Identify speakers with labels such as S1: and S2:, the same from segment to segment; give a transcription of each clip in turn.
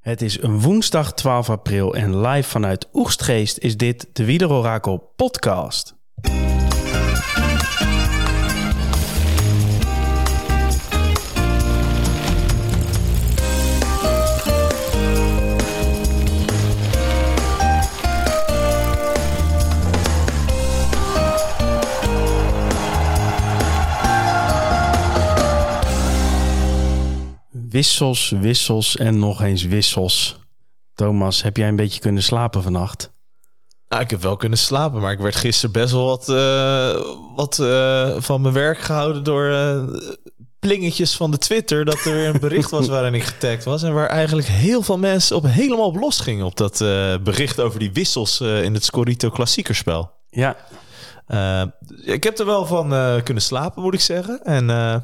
S1: Het is een woensdag 12 april en live vanuit Oegstgeest is dit de Wielerorakel podcast. Wissels, wissels en nog eens wissels. Thomas, heb jij een beetje kunnen slapen vannacht?
S2: Nou, ik heb wel kunnen slapen, maar ik werd gisteren best wel wat, eh, wat eh, van mijn werk gehouden door eh, plingetjes van de Twitter. Dat er weer een bericht was waarin ik getagd was. En waar eigenlijk heel veel mensen op helemaal op los gingen. Op dat eh, bericht over die wissels eh, in het Scorito klassiekerspel.
S1: Ja,
S2: Eh, ik heb er wel van eh, kunnen slapen, moet ik zeggen. En eh,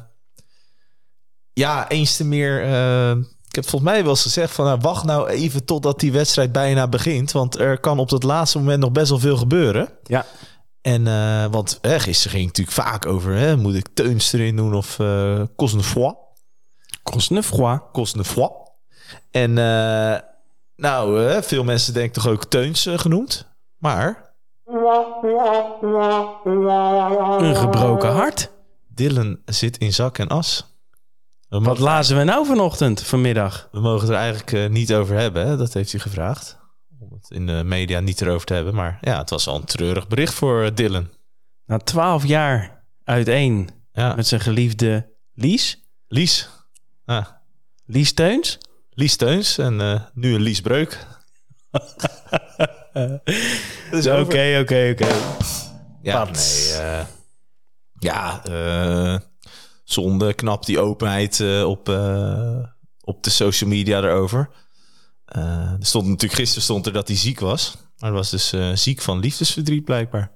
S2: ja, eens te meer. eh, ik heb volgens mij wel eens gezegd van nou, wacht nou even totdat die wedstrijd bijna begint. Want er kan op dat laatste moment nog best wel veel gebeuren.
S1: Ja.
S2: En eh, want hè, gisteren ging het natuurlijk vaak over, hè, moet ik Teuns erin doen of eh Cosnefroid?
S1: Cosnefroid.
S2: Cosnefroid. En eh, nou, eh, veel mensen denken toch ook Teuns eh, genoemd. Maar
S1: Een gebroken hart.
S2: Dylan zit in zak en as. We
S1: Wat
S2: mogen-
S1: lazen we nou vanochtend, vanmiddag?
S2: We mogen het er eigenlijk eh, niet over hebben. Hè? Dat heeft hij gevraagd. Om het in de media niet erover te hebben. Maar ja, het was al een treurig bericht voor eh, Dylan.
S1: Na twaalf jaar uiteen
S2: Ja.
S1: met zijn geliefde Lies.
S2: Lies. Ah,
S1: Lies Teuns.
S2: Lies Teuns. En eh, nu een Lies Breuk. Dus
S1: Oké, oké, oké.
S2: Ja, nee,
S1: Pats.
S2: eh, ja eh, zonde. Knap die openheid eh, op, eh, op de social media erover. Eh, er stond natuurlijk gisteren stond er dat hij ziek was. Maar hij was dus eh, ziek van liefdesverdriet blijkbaar.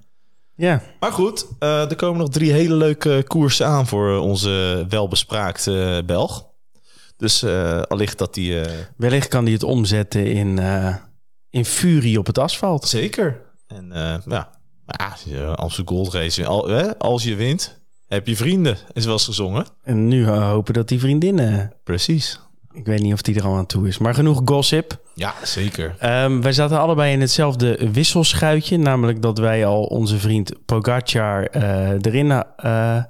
S1: Ja,
S2: Maar goed, eh, er komen nog drie hele leuke koersen aan voor eh, onze welbespraakte eh, Belg. Dus eh allicht dat die... eh,
S1: wellicht kan hij het omzetten in, eh, in furie op het asfalt.
S2: Zeker. En eh ja, maar ja, als de Gold Race, al, hè, als je wint, heb je vrienden, is wel eens gezongen.
S1: En nu eh, hopen dat die vriendinnen...
S2: Precies.
S1: Ik weet niet of die er al aan toe is. Maar genoeg gossip.
S2: Ja, zeker.
S1: Ehm, wij zaten allebei in hetzelfde wisselschuitje. Namelijk dat wij al onze vriend Pogacar eh, erin eh,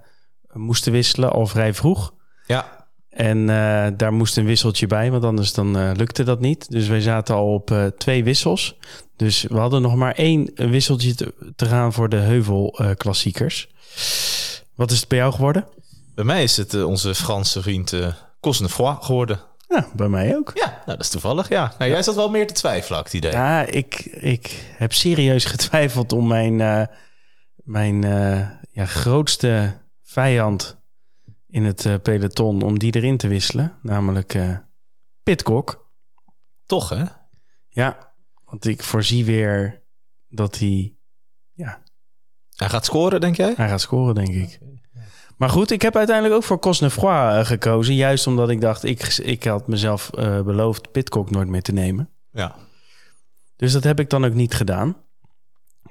S1: moesten wisselen al vrij vroeg.
S2: Ja,
S1: En eh, daar moest een wisseltje bij, want anders dan eh, lukte dat niet. Dus wij zaten al op eh, twee wissels. Dus we hadden nog maar één wisseltje te, te gaan voor de heuvelklassiekers. Wat is het bij jou geworden?
S2: bij mij is het eh, onze Franse vriend eh Cosnefroid geworden.
S1: Ja, bij mij ook.
S2: Ja, nou, dat is toevallig, ja. Nou, jij zat wel meer te twijfelen, had ik het idee.
S1: Ja, ik, ik heb serieus getwijfeld om mijn, eh, mijn eh, ja, grootste vijand in het eh, peloton, om die erin te wisselen. Namelijk eh Pitcock.
S2: Toch, hè?
S1: Ja, want ik voorzie weer dat hij,
S2: Hij gaat scoren, denk jij?
S1: hij gaat scoren, denk ik. Maar goed, ik heb uiteindelijk ook voor Cosnefroid eh, gekozen. Juist omdat ik dacht, ik, ik had mezelf eh, beloofd Pitcock nooit meer te nemen.
S2: Ja.
S1: Dus dat heb ik dan ook niet gedaan.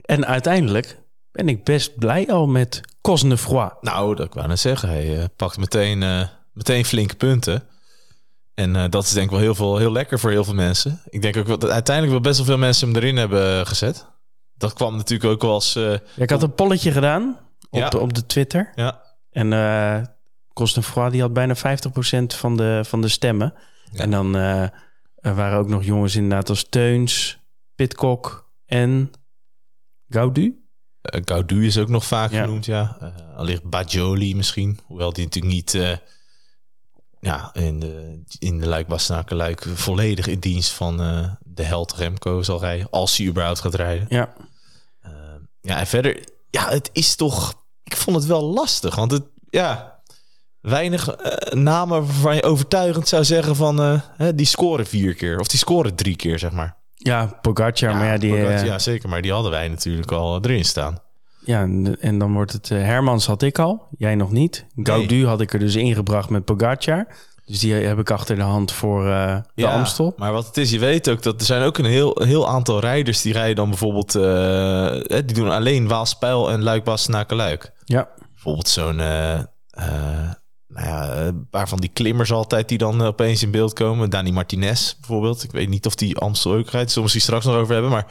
S1: En uiteindelijk ben ik best blij al met Cosnefroid.
S2: Nou, dat ik wou net zeggen. Hij eh, pakt meteen, eh, meteen flinke punten. En eh, dat is denk ik wel heel, veel, heel lekker voor heel veel mensen. Ik denk ook wel dat uiteindelijk wel best wel veel mensen hem erin hebben eh, gezet. Dat kwam natuurlijk ook wel als... eh,
S1: Ja, Ik had een polletje gedaan op,
S2: Ja.
S1: de, op de Twitter.
S2: ja,
S1: En eh Cosnefroid die had bijna 50% van de, van de stemmen.
S2: Ja.
S1: En dan eh, er waren ook nog jongens inderdaad als Teuns, Pitcock en Gaudu.
S2: eh, Gaudu is ook nog vaak
S1: Ja.
S2: genoemd, ja. Eh allicht Bajoli misschien. Hoewel die natuurlijk niet eh, ja, in de, in de luik Bastenaken luik volledig in dienst van eh, de held Remco zal rijden. Als hij überhaupt gaat rijden.
S1: Ja,
S2: Eh, ja, en verder, ja, het is toch. Ik vond het wel lastig, want het, ja, weinig eh, namen waarvan je overtuigend zou zeggen van eh, hè, die scoren vier keer of die scoren drie keer, zeg maar.
S1: ja Pogacar. maar ja, die,
S2: Pogacar,
S1: eh,
S2: ja, zeker, maar die hadden wij natuurlijk al eh, erin staan.
S1: Ja, en, en dan wordt het... eh, Hermans had ik al, jij nog niet. Gaudu had ik er dus ingebracht met Pogacar. Dus die heb ik achter de hand voor eh, de
S2: Ja,
S1: Amstel.
S2: Maar wat het is, je weet ook dat er zijn ook een heel, een heel aantal rijders die rijden dan bijvoorbeeld, eh, hè, die doen alleen Waalspijl en Luik Bastenaken Luik.
S1: Ja,
S2: Bijvoorbeeld zo'n eh, eh, nou ja, een paar van die klimmers altijd die dan eh, opeens in beeld komen. Dani Martinez bijvoorbeeld. Ik weet niet of die Amstel ook rijdt. Zullen we misschien straks nog over hebben. Maar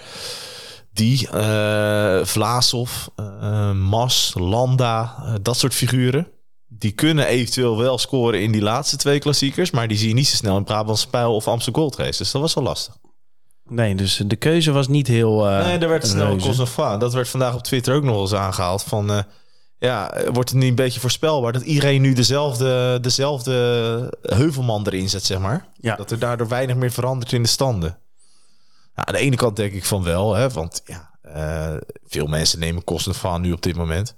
S2: die, eh Vlaashoff, eh, Mas, Landa, eh, dat soort figuren. Die kunnen eventueel wel scoren in die laatste twee klassiekers. Maar die zie je niet zo snel in Brabantse Pijl of Amstel Gold Race. Dus dat was wel lastig.
S1: Nee, dus de keuze was niet heel. eh,
S2: Nee, er werd snel
S1: reuze.
S2: Cosnefroid. Dat werd vandaag op Twitter ook nog eens aangehaald. Van, eh, ja, wordt het niet een beetje voorspelbaar dat iedereen nu dezelfde, dezelfde heuvelman erin zet, zeg maar?
S1: Ja.
S2: Dat er daardoor weinig meer verandert in de standen. Nou, aan de ene kant denk ik van wel, hè, want ja, eh, veel mensen nemen Cosnefroid nu op dit moment.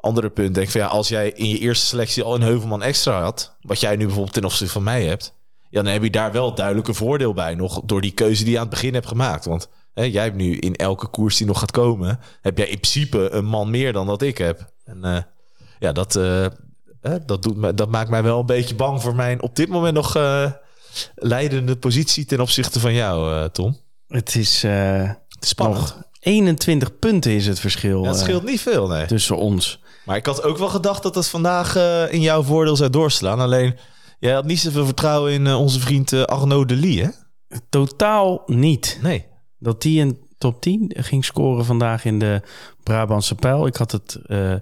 S2: Andere punt denk ik van ja, als jij in je eerste selectie al een heuvelman extra had, wat jij nu bijvoorbeeld ten opzichte van mij hebt, ja, dan heb je daar wel duidelijk een voordeel bij nog door die keuze die je aan het begin hebt gemaakt. Want hè, jij hebt nu in elke koers die nog gaat komen, heb jij in principe een man meer dan dat ik heb. En eh, ja, dat, eh, hè, dat, doet me, dat maakt mij wel een beetje bang voor mijn op dit moment nog eh, leidende positie ten opzichte van jou, eh, Tom.
S1: Het is eh,
S2: Het is spannend.
S1: nog 21 punten is het verschil
S2: Ja, het
S1: eh,
S2: scheelt niet veel, nee.
S1: tussen ons.
S2: Maar ik had ook wel gedacht dat dat vandaag eh, in jouw voordeel zou doorslaan. Alleen, jij had niet zoveel vertrouwen in eh, onze vriend eh, Arnaud Delis, hè?
S1: Totaal niet.
S2: Nee.
S1: Dat die een top 10 ging scoren vandaag in de Brabantse pijl. Ik had het eh,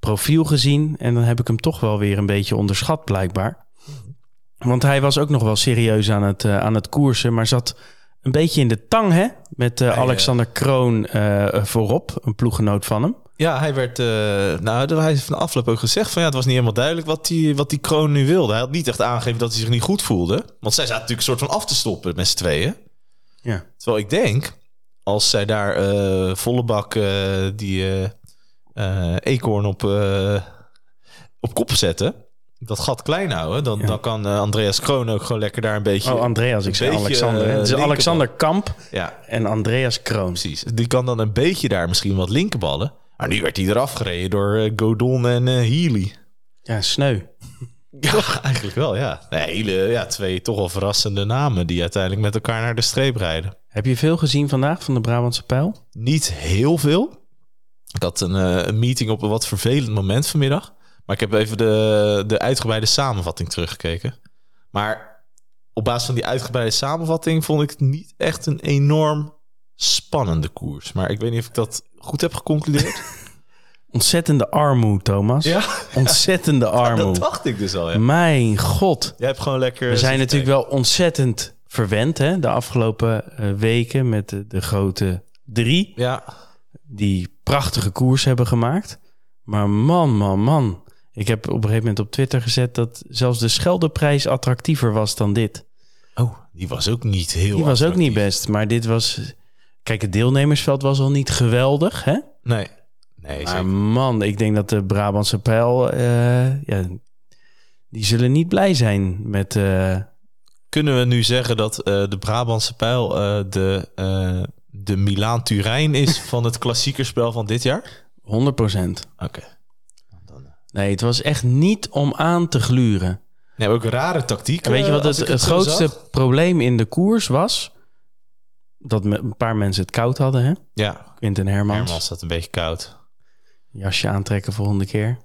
S1: profiel gezien en dan heb ik hem toch wel weer een beetje onderschat blijkbaar. Want hij was ook nog wel serieus aan het, eh, aan het koersen, maar zat een beetje in de tang hè? met eh,
S2: eh,
S1: Alexander Kroon eh, voorop, een ploeggenoot van hem.
S2: Ja, hij werd. eh nou, hij heeft van de afloop ook gezegd van ja, het was niet helemaal duidelijk wat die, wat die kroon nu wilde. Hij had niet echt aangegeven dat hij zich niet goed voelde. Want zij zaten natuurlijk een soort van af te stoppen met z'n tweeën.
S1: Ja.
S2: Terwijl ik denk, als zij daar eh, volle bak eh, die eh, eh, eekhoorn op, eh, op kop zetten, dat gat klein houden, dan,
S1: Ja.
S2: dan kan eh, Andreas Kroon ook gewoon lekker daar een beetje.
S1: Oh, Andreas, ik zei
S2: beetje,
S1: Alexander. hè?
S2: eh,
S1: Het is
S2: linkerbal.
S1: Alexander Kamp
S2: ja,
S1: en Andreas Kroon.
S2: precies. Die kan dan een beetje daar misschien wat linkerballen. Maar nu werd hij eraf gereden door eh, Godon en eh, Healy.
S1: Ja, sneu.
S2: Ja, eigenlijk wel, ja. Nee, hele, ja. Twee toch wel verrassende namen die uiteindelijk met elkaar naar de streep rijden.
S1: Heb je veel gezien vandaag van de Brabantse pijl?
S2: Niet heel veel. Ik had een, eh, een meeting op een wat vervelend moment vanmiddag. Maar ik heb even de, de uitgebreide samenvatting teruggekeken. Maar op basis van die uitgebreide samenvatting vond ik het niet echt een enorm spannende koers. Maar ik weet niet of ik dat goed heb geconcludeerd.
S1: Ontzettende armoe, Thomas. Ontzettende
S2: dat
S1: armoe.
S2: dacht ik dus al, ja.
S1: Mijn god.
S2: Jij hebt gewoon lekker...
S1: We zijn
S2: zitten
S1: natuurlijk wel ontzettend verwend hè, de afgelopen eh, weken met de, de grote drie.
S2: kijken. Ja,
S1: Die prachtige koers hebben gemaakt. Maar man, man, man. Ik heb op een gegeven moment op Twitter gezet dat zelfs de Scheldeprijs attractiever was dan dit.
S2: oh, die was ook niet heel
S1: Die was ook niet
S2: attractief.
S1: best, maar dit was... Kijk, het deelnemersveld was al niet geweldig, hè?
S2: Nee. Nee,
S1: Maar man, ik denk dat de Brabantse pijl... eh, ja, die zullen niet blij zijn met... eh,
S2: Kunnen we nu zeggen dat eh, de Brabantse pijl eh, de, eh, de Milaan-Turijn is van het klassiekerspel van dit jaar?
S1: 100%.
S2: Oké.
S1: Nee, het was echt niet om aan te gluren.
S2: Nee, ook een rare tactiek.
S1: En weet je
S2: eh,
S1: wat
S2: als
S1: het,
S2: ik
S1: het,
S2: zo
S1: grootste
S2: zag.
S1: probleem in de koers was? Dat me- een paar mensen het koud hadden, hè?
S2: Ja,
S1: Quinten Hermans.
S2: Herman staat een beetje koud.
S1: Jasje aantrekken volgende keer.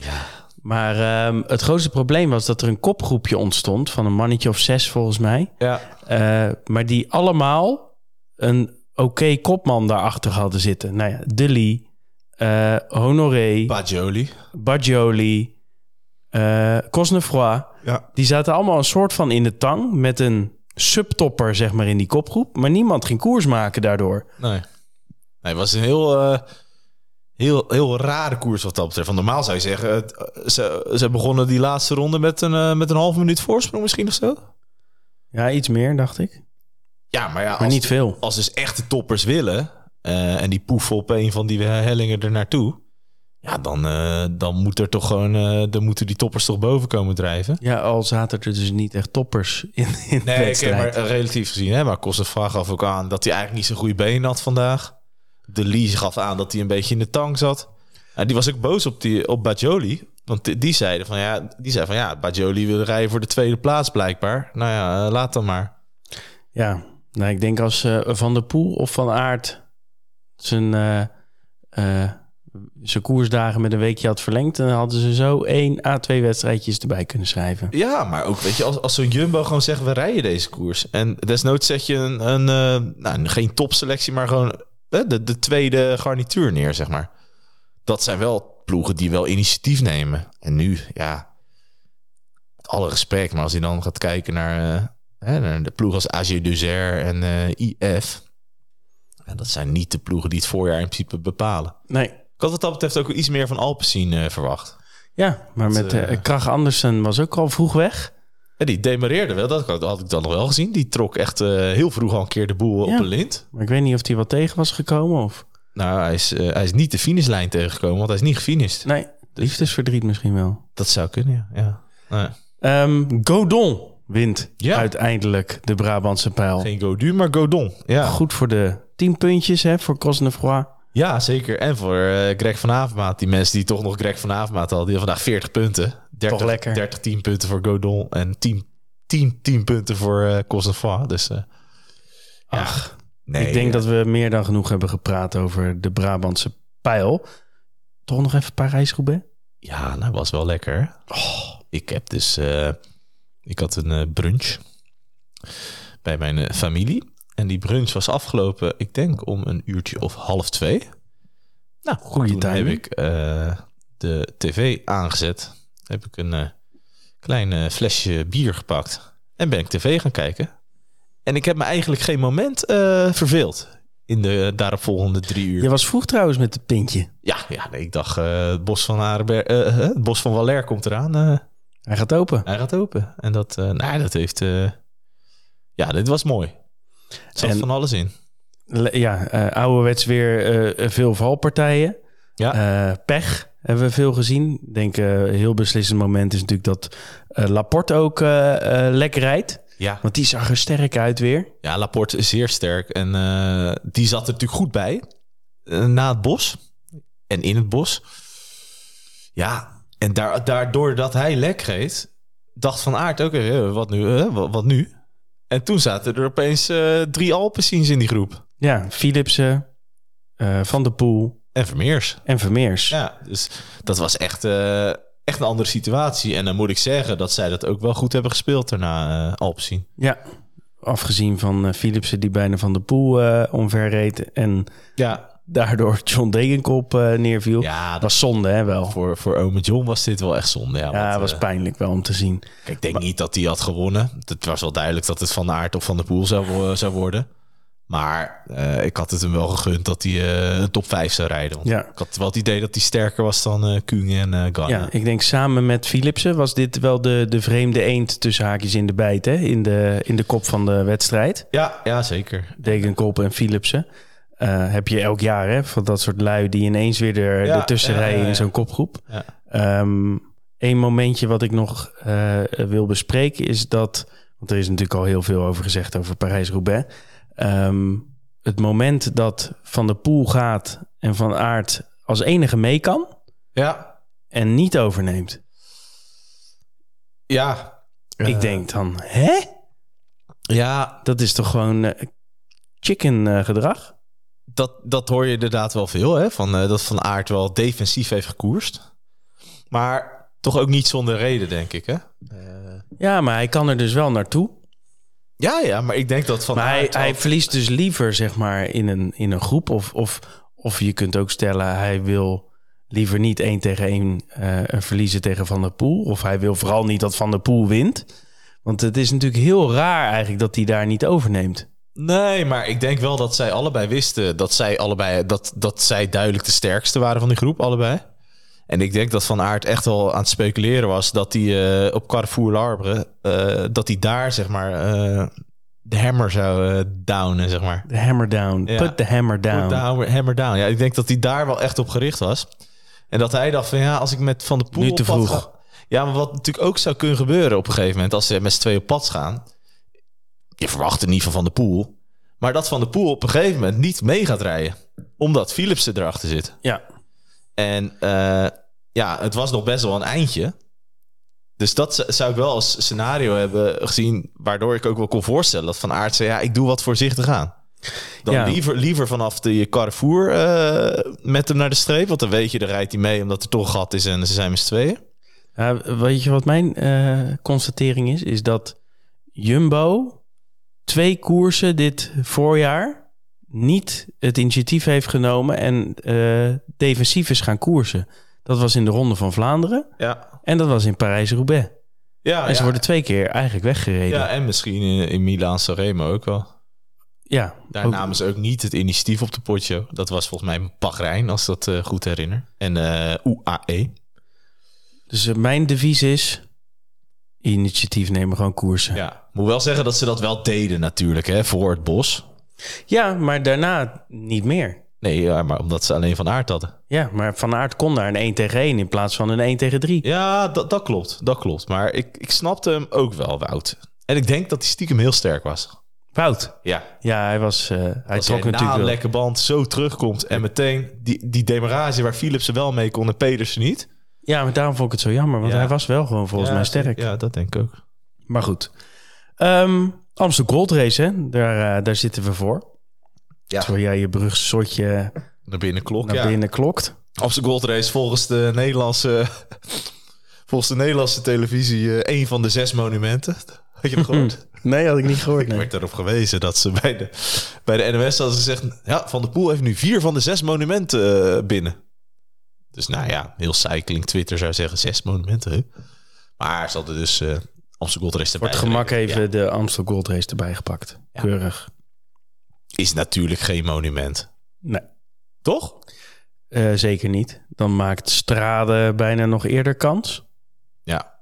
S2: Ja.
S1: Maar ehm, het grootste probleem was dat er een kopgroepje ontstond... van een mannetje of zes volgens mij.
S2: Ja,
S1: Eh, maar die allemaal een oké kopman daarachter hadden zitten. Nou ja, Dilly, eh, Honoré,
S2: Bajoli.
S1: Bargioli, eh Cosnefroid.
S2: Ja.
S1: Die zaten allemaal een soort van in de tang met een subtopper zeg maar in die kopgroep. Maar niemand ging koers maken daardoor.
S2: Nee. Nee, het was een heel, eh, heel, heel rare koers wat dat betreft. Want normaal zou je zeggen, het, eh, ze, ze begonnen die laatste ronde met een, eh, met een half minuut voorsprong misschien of zo.
S1: Ja, iets meer dacht ik.
S2: Ja, maar ja, als
S1: Maar niet veel.
S2: als dus echte toppers willen eh, en die poefen op een van die eh, hellingen er naartoe, ja, dan, eh, dan moet er toch gewoon, eh, dan moeten die toppers toch boven komen drijven.
S1: Ja, al zaten er dus niet echt toppers in, in de
S2: Nee, ik heb
S1: wedstrijd.
S2: maar eh, relatief gezien, hè, maar Kosovar gaf ook aan dat hij eigenlijk niet zo'n goede been had vandaag. De Lee gaf aan dat hij een beetje in de tang zat. En die was ook boos op, die, op Bajoli. Want die, die zeiden van ja, die zei van ja, Bajoli wil rijden voor de tweede plaats blijkbaar. Nou ja, eh, laat dan maar.
S1: Ja, nou, ik denk als eh, Van der Poel of Van Aert zijn eh, eh, zijn koersdagen met een weekje had verlengd, dan hadden ze zo één à twee wedstrijdjes erbij kunnen schrijven.
S2: Ja, maar ook, weet je, als, als zo'n Jumbo gewoon zegt, we rijden deze koers. En desnoods zet je een, een eh, nou, geen topselectie, maar gewoon eh, de, de tweede garnituur neer, zeg maar. Dat zijn wel ploegen die wel initiatief nemen. En nu, ja, met alle respect, maar als je dan gaat kijken naar, eh, hè, naar de ploeg als AG Duzer en eh, IF... ja, dat zijn niet de ploegen die het voorjaar in principe bepalen.
S1: Nee.
S2: Ik had wat dat betreft ook iets meer van Alpecin eh, verwacht.
S1: Ja, maar
S2: Dat,
S1: met
S2: eh,
S1: eh, Krach Andersen was ook al vroeg weg.
S2: En die demareerde wel, dat had- had ik dan nog wel gezien. Die trok echt eh, heel vroeg al een keer de boel
S1: Ja.
S2: op een lint.
S1: Maar ik weet niet of hij wat tegen was gekomen of...
S2: Nou, hij is, eh, hij is niet de finishlijn tegengekomen, want hij is niet gefinished.
S1: Nee, liefdesverdriet misschien wel.
S2: Dat zou kunnen, ja. ja. Nou, ja.
S1: Ehm, Godon wint
S2: Ja.
S1: uiteindelijk de Brabantse pijl.
S2: Geen Godu, maar Godon. Ja,
S1: Goed voor de 10 puntjes hè, voor Cosnefroid.
S2: ja zeker. En voor eh, Greg van Avermaat, die mensen die toch nog Greg van Avermaat hadden, die hadden vandaag 40 punten. 30,
S1: Toch lekker.
S2: 30, 10 punten voor Godon en 10, 10, 10 punten voor eh Cosnefroid. Dus eh,
S1: Ach,
S2: nee,
S1: ik denk
S2: eh,
S1: dat we meer dan genoeg hebben gepraat over de Brabantse pijl. Toch nog even Parijs-Roubaix?
S2: Ja, nou was wel lekker. Oh, ik heb dus. eh, ik had een eh, brunch bij mijn eh, familie. En die brunch was afgelopen, ik denk om een uurtje of half twee. Nou,
S1: Goeie
S2: toen
S1: timing.
S2: heb ik eh, de tv aangezet. Heb ik een eh, klein eh, flesje bier gepakt. En ben ik tv gaan kijken. En ik heb me eigenlijk geen moment eh, verveeld. In de eh, daaropvolgende drie uur.
S1: Je was vroeg trouwens met het pintje.
S2: Ja, ja nee, ik dacht, eh, het bos van Arenberg, eh, eh, het bos van Waller komt eraan. eh,
S1: Hij gaat open.
S2: hij gaat open. En dat, eh, nou, dat heeft, eh, ja, dit was mooi. Er zat
S1: En-
S2: van alles in.
S1: Le- Ja, eh ouderwets weer eh, veel valpartijen.
S2: Ja.
S1: Eh, pech hebben we veel gezien. Ik denk eh, een heel beslissend moment is natuurlijk dat eh, Laporte ook eh, eh, lekker rijdt.
S2: Ja.
S1: Want die zag er sterk uit weer.
S2: ja, Laporte is zeer sterk. En eh, die zat er natuurlijk goed bij. Eh, na het bos. En in het bos. Ja, en daar, daardoor dat hij lek reed, dacht Van Aert ook, eh, wat nu? eh, wat, wat nu? En toen zaten er opeens eh, drie Alpensiens in die groep.
S1: Ja, Philipsen, eh, Van der Poel
S2: En Vermeers.
S1: en Vermeers.
S2: Ja, dus dat was echt, eh, echt een andere situatie. En dan moet ik zeggen dat zij dat ook wel goed hebben gespeeld daarna, eh Alpecin.
S1: Ja, afgezien van eh, Philipsen die bijna Van der Poel eh omver reed. En
S2: Ja,
S1: daardoor John Degenkop eh, neerviel.
S2: ja
S1: Dat
S2: dat
S1: was zonde, hè, wel.
S2: voor, voor Ome John was dit wel echt zonde. Ja,
S1: Ja,
S2: want,
S1: dat was
S2: eh,
S1: pijnlijk wel om te zien.
S2: kijk, ik denk niet dat hij had gewonnen. Het was wel duidelijk dat het Van de Aert of Van de Poel zou, wo- zou worden. Maar eh, ik had het hem wel gegund dat hij eh, een top 5 zou rijden. Want
S1: Ja.
S2: Ik had wel het idee dat hij sterker was dan eh Kung en eh Ganna.
S1: Ja, ik denk samen met Philipsen was dit wel de, de vreemde eend tussen haakjes in de bijt. Hè? In, de, in de kop van de wedstrijd.
S2: Ja, ja, zeker.
S1: Degenkop en Philipsen. Eh, heb je elk jaar hè, van dat soort lui die ineens weer er,
S2: Ja,
S1: ertussen
S2: ja, ja,
S1: rijden
S2: ja.
S1: in zo'n kopgroep.
S2: Ja.
S1: Eén momentje wat ik nog eh, wil bespreken is dat... Want er is natuurlijk al heel veel over gezegd over Parijs-Roubaix. Ehm, het moment dat Van der Poel gaat en Van Aert als enige mee kan
S2: Ja,
S1: en niet overneemt.
S2: ja. Eh,
S1: Ik denk dan, hè?
S2: Ja,
S1: Dat is toch gewoon eh, chicken eh, gedrag?
S2: dat, dat hoor je inderdaad wel veel, hè? Van, eh, dat Van Aert wel defensief heeft gekoerst. Maar toch ook niet zonder reden, denk ik, hè?
S1: Ja, maar hij kan er dus wel naartoe.
S2: Ja, ja, maar ik denk dat Van
S1: maar hij,
S2: Aert...
S1: hij
S2: had-
S1: verliest dus liever, zeg maar, in een, in een groep. Of, of, of je kunt ook stellen, hij wil liever niet één tegen één eh, verliezen tegen Van der Poel. Of hij wil vooral niet dat Van der Poel wint. Want het is natuurlijk heel raar eigenlijk dat hij daar niet overneemt.
S2: Nee, maar ik denk wel dat zij allebei wisten dat zij, allebei, dat, dat zij duidelijk de sterkste waren van die groep, allebei. En ik denk dat Van Aert echt wel aan het speculeren was dat hij eh, op Carrefour Larbre, eh, dat hij daar, zeg maar, eh, de hammer zou eh, downen, zeg maar.
S1: De hammer down.
S2: Ja.
S1: Put the hammer down.
S2: Put the hammer, hammer down. Ja, ik denk dat hij daar wel echt op gericht was. En dat hij dacht van ja, als ik met Van de Poel
S1: Nu te
S2: op pad
S1: vroeg.
S2: ga- ja, maar wat natuurlijk ook zou kunnen gebeuren op een gegeven moment... als ze met z'n tweeën op pad gaan. Je verwacht het niet van Van de Poel. Maar dat Van de Poel op een gegeven moment niet mee gaat rijden. Omdat Philipsen erachter zit.
S1: Ja.
S2: En eh, ja, het was nog best wel een eindje. Dus dat z- zou ik wel als scenario hebben gezien... waardoor ik ook wel kon voorstellen dat Van Aert zei... ja, ik doe wat voorzichtig aan. Dan
S1: Ja.
S2: liever, liever vanaf de Carrefour eh, met hem naar de streep. Want dan weet je, dan rijdt hij mee omdat er toch een gat is en ze zijn met z'n tweeën.
S1: Ja, weet je wat mijn eh, constatering is? Is dat Jumbo twee koersen dit voorjaar niet het initiatief heeft genomen en eh, defensief is gaan koersen. Dat was in de Ronde van Vlaanderen
S2: Ja,
S1: en dat was in Parijs-Roubaix.
S2: ja,
S1: en ze
S2: ja.
S1: worden twee keer eigenlijk weggereden.
S2: ja
S1: Oh, Ja,
S2: en misschien in, in Milaan Sanremo ook wel. Daar
S1: ook-
S2: namen ze ook niet het initiatief op de potje. Dat was volgens mij Bahrein, als ik dat eh, goed herinner. En eh UAE.
S1: dus eh, mijn devies is initiatief nemen, gewoon koersen.
S2: Ja. Moet wel zeggen dat ze dat wel deden natuurlijk, hè, voor het bos.
S1: ja, maar daarna niet meer.
S2: Nee, ja, maar omdat ze alleen van aard hadden.
S1: Ja, maar Van Aert kon daar een 1 tegen 1 in plaats van een 1 tegen 3.
S2: Ja, dat, dat klopt. Dat klopt. Maar ik, ik snapte hem ook wel, Wout. En ik denk dat hij stiekem heel sterk was.
S1: Wout.
S2: Ja.
S1: Ja, hij was. eh, hij
S2: Als
S1: trok
S2: hij na
S1: natuurlijk
S2: een
S1: wel.
S2: lekke band zo terugkomt en meteen die, die demarage waar Philipsen wel mee kon en Pedersen niet.
S1: Ja, maar daarom vond ik het zo jammer, want
S2: Ja.
S1: hij was wel gewoon volgens
S2: Ja,
S1: mij sterk.
S2: Ja, dat denk ik ook.
S1: Maar goed. Ehm Amsterdam Gold Race, hè? Daar, eh, daar zitten we voor.
S2: Ja.
S1: Terwijl jij je brugsotje
S2: Naar binnen klok,
S1: naar
S2: ja.
S1: binnen klokt.
S2: Als de Gold Race volgens de Nederlandse, volgens de Nederlandse televisie eh een van de zes monumenten. Had je dat gehoord?
S1: Nee, had ik niet gehoord.
S2: Ik werd erop gewezen dat ze bij de, bij de NOS hadden gezegd... Ja, Van der Poel heeft nu vier van de zes monumenten eh, binnen. Dus nou ja, heel cycling Twitter zou zeggen zes monumenten. hè? Maar ze hadden dus eh Amsterdam Gold Race
S1: Voor
S2: erbij.
S1: het gemak
S2: gereden.
S1: even de Amsterdam Gold Race erbij gepakt. Keurig.
S2: Ja, is natuurlijk geen monument.
S1: Nee,
S2: Toch?
S1: eh, zeker niet. Dan maakt Strade bijna nog eerder kans.
S2: Ja.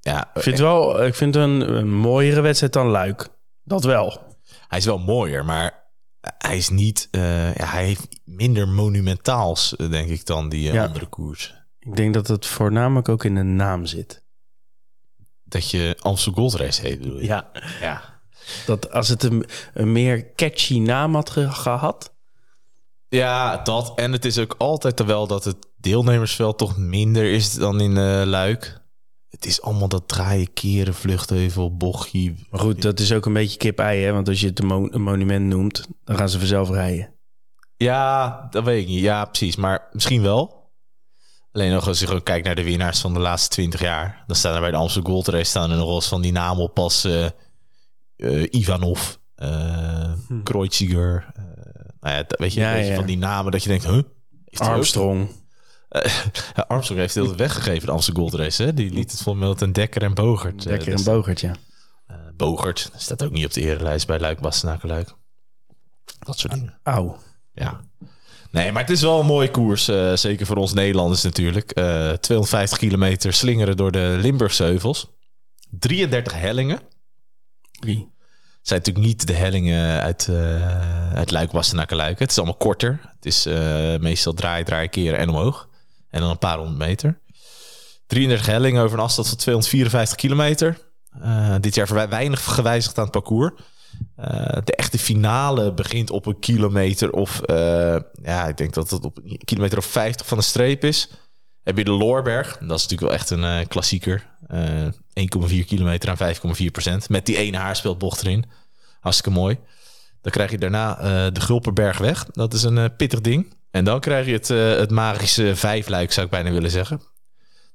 S2: Ja, eh,
S1: Ik vind, het wel, ik vind het een, een mooiere wedstrijd dan Luik. Dat wel.
S2: Hij is wel mooier, maar hij is niet. eh, ja, hij heeft minder monumentaals, eh, denk ik, dan die eh,
S1: Ja.
S2: andere koers.
S1: Ik denk dat het voornamelijk ook in de naam zit.
S2: Dat je Amsterdam Gold Race heet, bedoel je?
S1: Ja,
S2: ja.
S1: Dat als het een, een meer catchy naam had ge- gehad.
S2: Ja, dat. En het is ook altijd wel dat het deelnemersveld toch minder is dan in eh, Luik. Het is allemaal dat draaien, keren, vluchtheuvel, bochtje.
S1: Maar goed, dat is ook een beetje kip-ei, hè? Want als je het een, mo- een monument noemt, dan gaan ze vanzelf rijden.
S2: Ja, dat weet ik niet. Ja, precies. Maar misschien wel. Alleen nog als je gewoon kijkt naar de winnaars van de laatste 20 jaar. Dan staan er bij de Amsterdam Gold Race staan er nog wel eens van die namen op als eh, eh, Ivanov, eh Kreuziger. eh, nou ja, dat, weet je,
S1: Hm. Ja,
S2: weet je,
S1: ja, ja.
S2: van die namen dat je denkt, huh? Heeft hij ook-
S1: Armstrong.
S2: Eh, Ja, Armstrong heeft heel veel weggegeven de Amsterdam Gold Race. Hè? Die liet het voor met een Dekker en Bogert. eh,
S1: Lekker
S2: dat
S1: een bogert, ja.
S2: staat- eh, Bogert dat staat ook niet op de erenlijst bij Luik, Bastenaken, Luik. Dat soort dingen.
S1: Auw.
S2: Ja. Nee, maar het is wel een mooie koers. eh, zeker voor ons Nederlanders natuurlijk. Eh, 250 kilometer slingeren door de Limburgse heuvels. 33 hellingen.
S1: Wie?
S2: Het zijn natuurlijk niet de hellingen uit, eh uit Luik, Bastenaken, Luik. Het is allemaal korter. Het is eh, meestal draai, draai, keren en omhoog. En dan een paar honderd meter. 33 hellingen over een afstand van 254 kilometer. Eh, dit jaar verwij- weinig gewijzigd aan het parcours. Eh, de echte finale begint op een kilometer of... eh, ja, ik denk dat het op een kilometer of 50 van de streep is. Heb je de Loorberg. Dat is natuurlijk wel echt een eh, klassieker. Eh, 1,4 kilometer aan 5,4 procent. Met die ene haarspeldbocht erin. Hartstikke mooi. Dan krijg je daarna eh, de Gulperbergweg. Dat is een eh, pittig ding. En dan krijg je het, eh, het magische vijfluik, zou ik bijna willen zeggen. Dan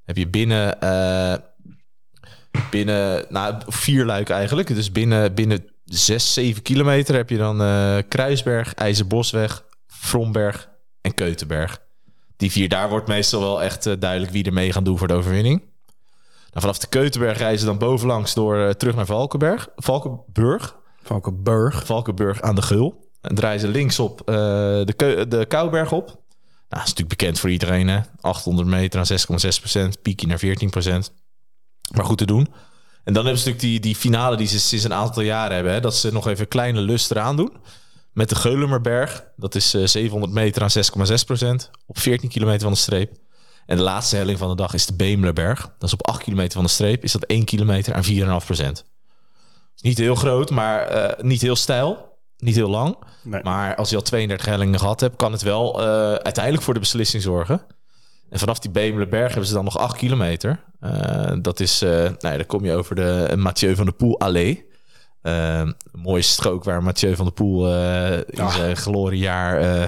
S2: heb je binnen, eh, binnen nou, vier luik eigenlijk. Dus binnen, binnen zes, zeven kilometer heb je dan eh, Kruisberg, IJzerbosweg, Fromberg en Keutenberg. Die vier, daar wordt meestal wel echt eh, duidelijk wie er mee gaan doen voor de overwinning. Nou, vanaf de Keutenberg reizen we dan bovenlangs door eh, terug naar Valkenberg. Valkenburg.
S1: Valkenburg.
S2: Valkenburg aan de Geul. En draaien ze linksop eh de, Keu- de Kouwberg op. Nou, dat is natuurlijk bekend voor iedereen. Hè? 800 meter aan 6,6%. Piekje naar 14%. Maar goed te doen. En dan hebben ze natuurlijk die, die finale die ze sinds een aantal jaren hebben. Hè? Dat ze nog even kleine lust eraan doen. Met de Geulemerberg. Dat is eh, 700 meter aan 6,6%. Op 14 kilometer van de streep. En de laatste helling van de dag is de Beemlerberg. Dat is op 8 kilometer van de streep. Is dat 1 kilometer aan 4,5%. Is Niet heel groot, maar eh, niet heel stijl. Niet heel lang.
S1: Nee.
S2: Maar als je al 32 hellingen gehad hebt, kan het wel eh, uiteindelijk voor de beslissing zorgen. En vanaf die Bemelenberg hebben ze dan nog 8 eh, kilometer. Eh, dat is, eh nou ja, dan kom je over de Mathieu van der Poel Allee. eh, mooie strook waar Mathieu van der Poel eh, in
S1: Ah.
S2: zijn gloriejaar eh,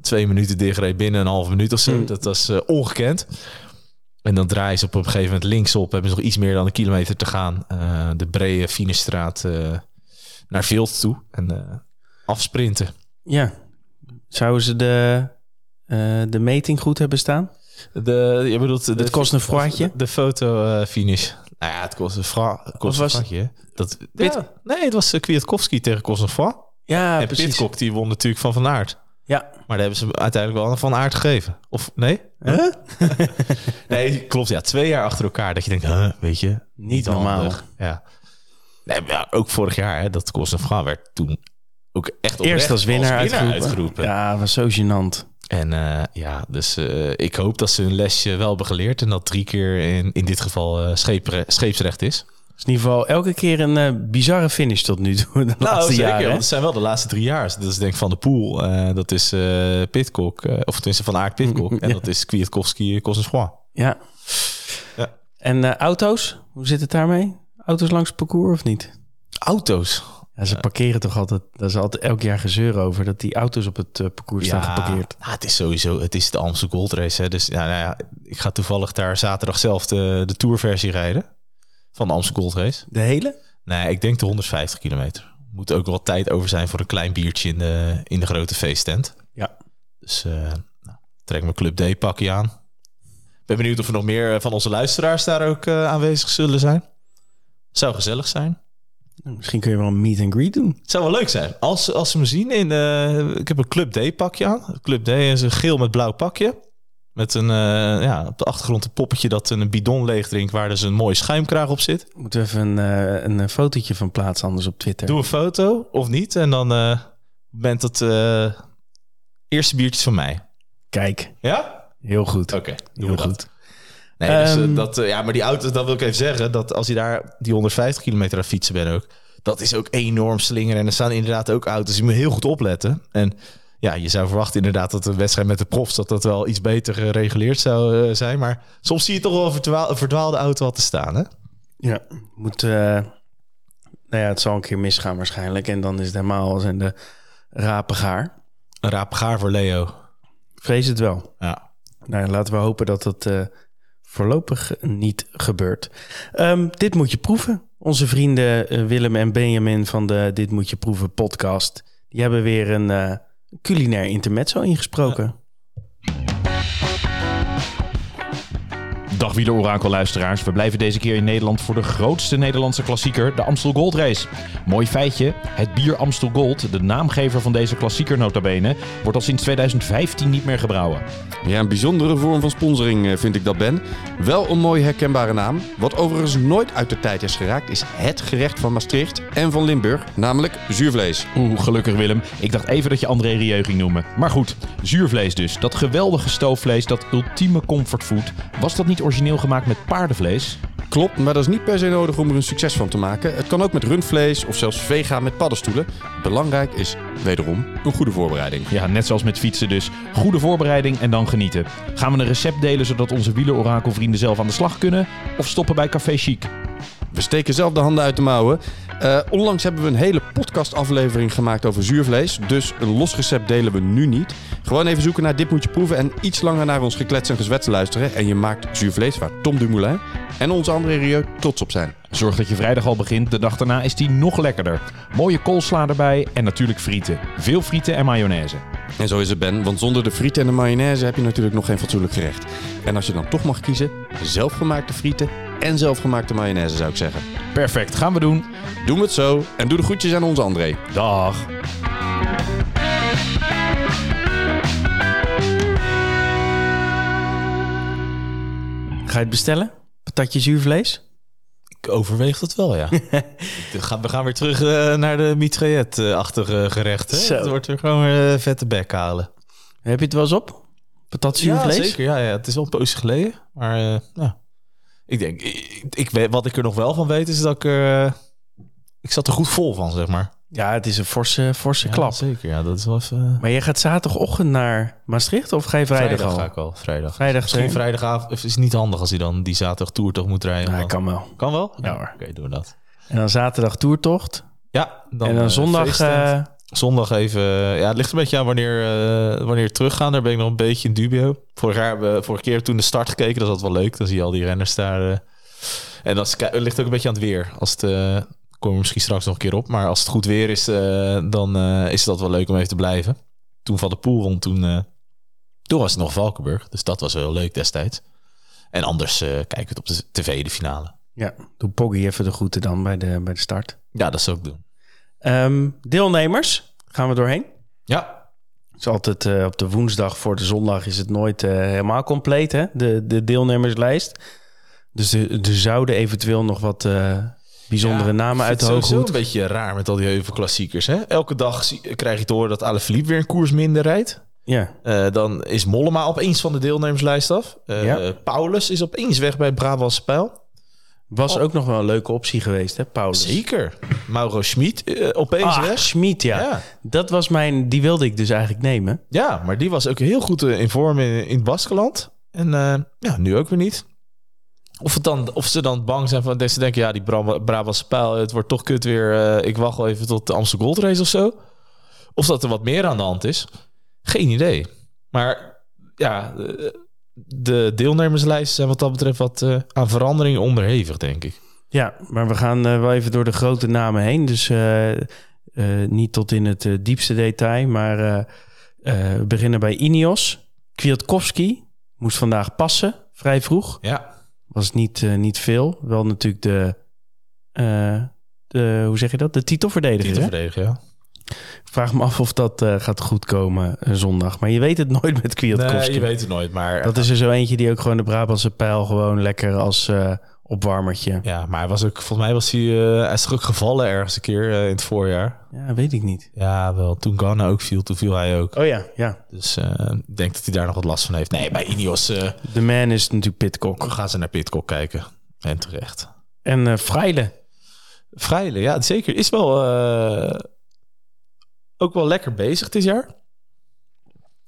S2: twee minuten dichtreed binnen een halve minuut of zo.
S1: Mm.
S2: Dat was eh, ongekend. En dan draaien ze op een gegeven moment linksop. Hebben ze nog iets meer dan een kilometer te gaan. eh, de brede Finestraat eh, naar Vilt toe. En eh, afsprinten.
S1: Ja. Zouden ze de, eh, de meting goed hebben staan?
S2: De, je bedoelt,
S1: Het kost een fraatje?
S2: De, de foto eh, finish. Nou ja, het kost een fra, het kost
S1: Of
S2: een
S1: was-
S2: fraatje, hè? Dat,
S1: Pit-
S2: ja, nee, het was eh, Kwiatkowski tegen Kostenfra.
S1: Ja,
S2: en
S1: precies.
S2: Pitcock, die won natuurlijk van Van Aert.
S1: Ja.
S2: Maar daar hebben ze uiteindelijk wel aan Van Aert gegeven. Of nee?
S1: Huh?
S2: nee, klopt. Ja, twee jaar achter elkaar dat je denkt, huh, weet je,
S1: Niet normaal.
S2: handig. Ja. Nee, maar ja, ook vorig jaar, hè, dat Kostenfra werd toen ook echt oprecht
S1: Eerst als winnaar, uitgeroepen.
S2: uitgeroepen.
S1: Ja, was zo gênant.
S2: En eh, ja, dus eh, ik hoop dat ze hun lesje wel hebben geleerd. En dat drie keer in, in dit geval eh, scheepre- scheepsrecht is.
S1: Dus in ieder geval elke keer een eh, bizarre finish tot nu toe. De
S2: Nou,
S1: laatste jaren.
S2: want het zijn wel de laatste drie jaar. Dus Dat is denk ik Van de Poel, eh, dat is eh Pitcock. eh, of tenminste Van Aert Pitcock. En
S1: Ja.
S2: dat is Kwiatkowski Kosenschois.
S1: Ja.
S2: Ja.
S1: En eh, auto's? Hoe zit het daarmee? Auto's langs het parcours of niet?
S2: Auto's.
S1: Ja, ze parkeren toch altijd. Daar is altijd elk jaar gezeur over dat die auto's op het eh, parcours staan geparkeerd.
S2: nou, het is sowieso, het is de Amstel Gold Race. Hè. Dus ja, nou ja, ik ga toevallig daar zaterdag zelf de, de tourversie rijden. Van de Amstel Gold Race.
S1: De hele?
S2: Nee, ik denk de 150 kilometer. Moet ook wel tijd over zijn voor een klein biertje in de, in de grote feesttent.
S1: Ja.
S2: Dus eh, nou, trek mijn Club D-pakje aan. Ik ben benieuwd of er nog meer eh, van onze luisteraars daar ook eh, aanwezig zullen zijn. Zou gezellig zijn.
S1: Nou, Misschien kun je wel een meet and greet doen.
S2: Zou wel leuk zijn. Als, ze- als ze me zien in... eh, ik heb een Club D-pakje aan. Club D is een geel met blauw pakje. Met een, eh, ja, op de achtergrond een poppetje dat een bidon leeg drinkt... waar dus een mooie schuimkraag op zit.
S1: Moeten we even een, eh, een eh, fotootje van plaatsen anders op Twitter.
S2: Doe een foto of niet. En dan eh, bent het eh, eerste biertjes van mij.
S1: Kijk,
S2: Ja?
S1: heel goed.
S2: Oké, doen
S1: Heel
S2: we
S1: goed.
S2: goed. Nee, dus, eh,
S1: Ehm.
S2: dat, eh, ja, maar die auto, dat wil ik even zeggen. Dat als je daar die 150 kilometer aan fietsen bent ook. Dat is ook enorm slinger. En er staan inderdaad ook auto's. Je moet heel goed opletten. En ja, je zou verwachten inderdaad dat een wedstrijd met de profs... dat dat wel iets beter gereguleerd zou eh, zijn. Maar soms zie je toch wel een verdwaal- een verdwaalde auto wat te staan, hè?
S1: Ja, moet. eh, nou ja, het zal een keer misgaan waarschijnlijk. En dan is het helemaal zijn de rapen gaar.
S2: Een raap gaar voor Leo.
S1: Ik Vrees het wel.
S2: Ja.
S1: Nou, ja, laten we hopen dat dat eh, voorlopig niet gebeurt. Ehm, dit moet je proeven. Onze vrienden eh, Willem en Benjamin van de Dit moet je proeven podcast... die hebben weer een eh, culinair intermezzo ingesproken.
S3: Dag Orakel luisteraars. We blijven deze keer in Nederland voor de grootste Nederlandse klassieker, de Amstel Gold Race. Mooi feitje, het bier Amstel Gold, de naamgever van deze klassieker notabene, wordt al sinds 2015 niet meer gebrouwen.
S4: Ja, een bijzondere vorm van sponsoring eh, vind ik dat, Ben. Wel een mooi herkenbare naam. Wat overigens nooit uit de tijd is geraakt, is het gerecht van Maastricht en van Limburg, namelijk zuurvlees.
S3: Oeh, gelukkig Willem. Ik dacht even dat je André Rieu ging noemen. Maar goed, zuurvlees dus. Dat geweldige stoofvlees, dat ultieme comfortfood. Was dat niet origineel gemaakt met paardenvlees?
S4: Klopt, maar dat is niet per se nodig om er een succes van te maken. Het kan ook met rundvlees of zelfs vega met paddenstoelen. Belangrijk is wederom een goede voorbereiding.
S3: Ja, net zoals met fietsen dus. Goede voorbereiding en dan genieten. Gaan we een recept delen zodat onze wielerorakelvrienden zelf aan de slag kunnen? Of stoppen bij Café Chic?
S4: We steken zelf de handen uit de mouwen. Eh, onlangs hebben we een hele podcastaflevering gemaakt over zuurvlees. Dus een los recept delen we nu niet. Gewoon even zoeken naar Dit Moet Je Proeven en iets langer naar ons geklets en gezwets luisteren. En je maakt zuurvlees waar Tom Dumoulin en onze andere Rieu trots op zijn.
S3: Zorg dat je vrijdag al begint, de dag daarna is die nog lekkerder. Mooie koolsla erbij en natuurlijk frieten. Veel frieten en mayonaise.
S4: En zo is het Ben, want zonder de frieten en de mayonaise heb je natuurlijk nog geen fatsoenlijk gerecht. En als je dan toch mag kiezen, zelfgemaakte frieten en zelfgemaakte mayonaise zou ik zeggen.
S3: Perfect, gaan we doen.
S4: Doe het zo en doe de groetjes aan onze André.
S3: Dag.
S1: Ga je het bestellen? Patatje zuurvlees?
S2: Ik overweeg dat wel, ja. we, gaan, we gaan weer terug eh, naar de mitraillet-achtige gerechten.
S1: Zo.
S2: Het wordt weer gewoon weer eh, vette bek halen.
S1: Heb je het wel eens op? Patat zuurvlees?
S2: Ja, zeker. Ja, ja, het is al een poosje geleden. Maar eh, ja. ik denk, ik, ik weet, wat ik er nog wel van weet, is dat ik er... eh, ik zat er goed vol van, zeg maar.
S1: Ja, het is een forse, forse
S2: Ja,
S1: klap.
S2: Zeker, ja. Dat is wel even...
S1: Maar je gaat zaterdagochtend naar Maastricht of ga je vrijdag, al?
S2: ga ik al. Vrijdag.
S1: Vrijdag
S2: Misschien
S1: erin?
S2: vrijdagavond. Of is het niet handig als hij dan die zaterdag toertocht moet rijden?
S1: Ja,
S2: Want-
S1: kan wel.
S2: kan wel?
S1: Ja,
S2: Oké,
S1: hoor.
S2: doen we dat.
S1: En dan zaterdag toertocht.
S2: Ja, dan,
S1: en
S2: eh,
S1: dan zondag...
S2: feesttent.
S1: eh,
S2: zondag even... eh, Ja, het ligt een beetje aan wanneer, eh wanneer we teruggaan. Daar ben ik nog een beetje in dubio. Vorig jaar hebben we vorige keer toen de start gekeken. dus Dat is altijd wel leuk. Dan zie je al die renners daar. eh. En dat is- het ligt ook een beetje aan het weer. Als het... eh, komen we misschien straks nog een keer op. Maar als het goed weer is, eh, dan eh, is dat wel leuk om even te blijven. Toen van de pool rond, toen, eh, toen was het nog Valkenburg. Dus dat was wel heel leuk destijds. En anders eh, kijken we het op de tv, de finale.
S1: ja, doe Poggy even de groeten dan bij de, bij de start.
S2: Ja, dat zou ik doen.
S1: Ehm, deelnemers, gaan we doorheen.
S2: Ja,
S1: Het is altijd eh, op de woensdag voor de zondag is het nooit eh, helemaal compleet, hè? De, de deelnemerslijst. Dus er er zouden eventueel nog wat eh, bijzondere namen uit de
S2: sowieso
S1: hooghoed.
S2: een beetje raar met al die heuvelklassiekers. Hè? Elke dag zie- krijg je te horen dat Alaphilippe weer een koers minder rijdt.
S1: Ja,
S2: Eh, dan is Mollema opeens van de deelnemerslijst af. Eh,
S1: Ja.
S2: Paulus is opeens weg bij Brabantse Pijl.
S1: was ook nog wel een leuke optie geweest, hè, Paulus?
S2: Zeker. Mauro Schmid eh, opeens
S1: Ah,
S2: weg.
S1: Schmid, ja.
S2: Ja.
S1: Dat was mijn, die wilde ik dus eigenlijk nemen.
S2: Ja, maar die was ook heel goed eh, in vorm in, in het Baskeland. En eh, ja, nu ook weer niet. Of, het dan, of ze dan bang zijn van dat ze denken, ja, die Bra- Brabantse pijl, het wordt toch kut weer. eh, ik wacht wel even tot de Amsterdam Gold Race of zo. Of dat er wat meer aan de hand is. Geen idee. Maar ja, eh, de deelnemerslijsten zijn wat dat betreft wat eh, aan verandering onderhevig, denk ik.
S1: Ja, maar we gaan eh, wel even door de grote namen heen. Dus eh, eh, niet tot in het eh, diepste detail. Maar eh, eh, we beginnen bij Ineos. Kwiatkowski moest vandaag passen, vrij vroeg.
S2: Ja,
S1: Was niet, eh, niet veel. Wel natuurlijk de, eh, de... Hoe zeg je dat? De titelverdediger. hè?
S2: titelverdediger, ja.
S1: Ik vraag me af of dat eh, gaat goedkomen eh, zondag. Maar je weet het nooit met Kwiatkowski.
S2: Nee, je weet het nooit, maar...
S1: Dat is er zo eentje die ook gewoon de Brabantse pijl... gewoon lekker als eh, opwarmertje.
S2: Ja, maar hij was ook, volgens mij was hij, eh, hij is toch ook gevallen ergens een keer eh, in het voorjaar.
S1: Ja, weet ik niet.
S2: Ja, wel. Toen Ghana ook viel, toen viel hij ook.
S1: Oh ja, ja.
S2: Dus eh, ik denk dat hij daar nog wat last van heeft. Nee, bij Ineos eh,
S1: De man is natuurlijk Pitcock.
S2: gaan ze naar Pitcock kijken. En terecht.
S1: En eh Freile.
S2: Vrijle, ja, zeker. Is wel eh, ook wel lekker bezig dit jaar.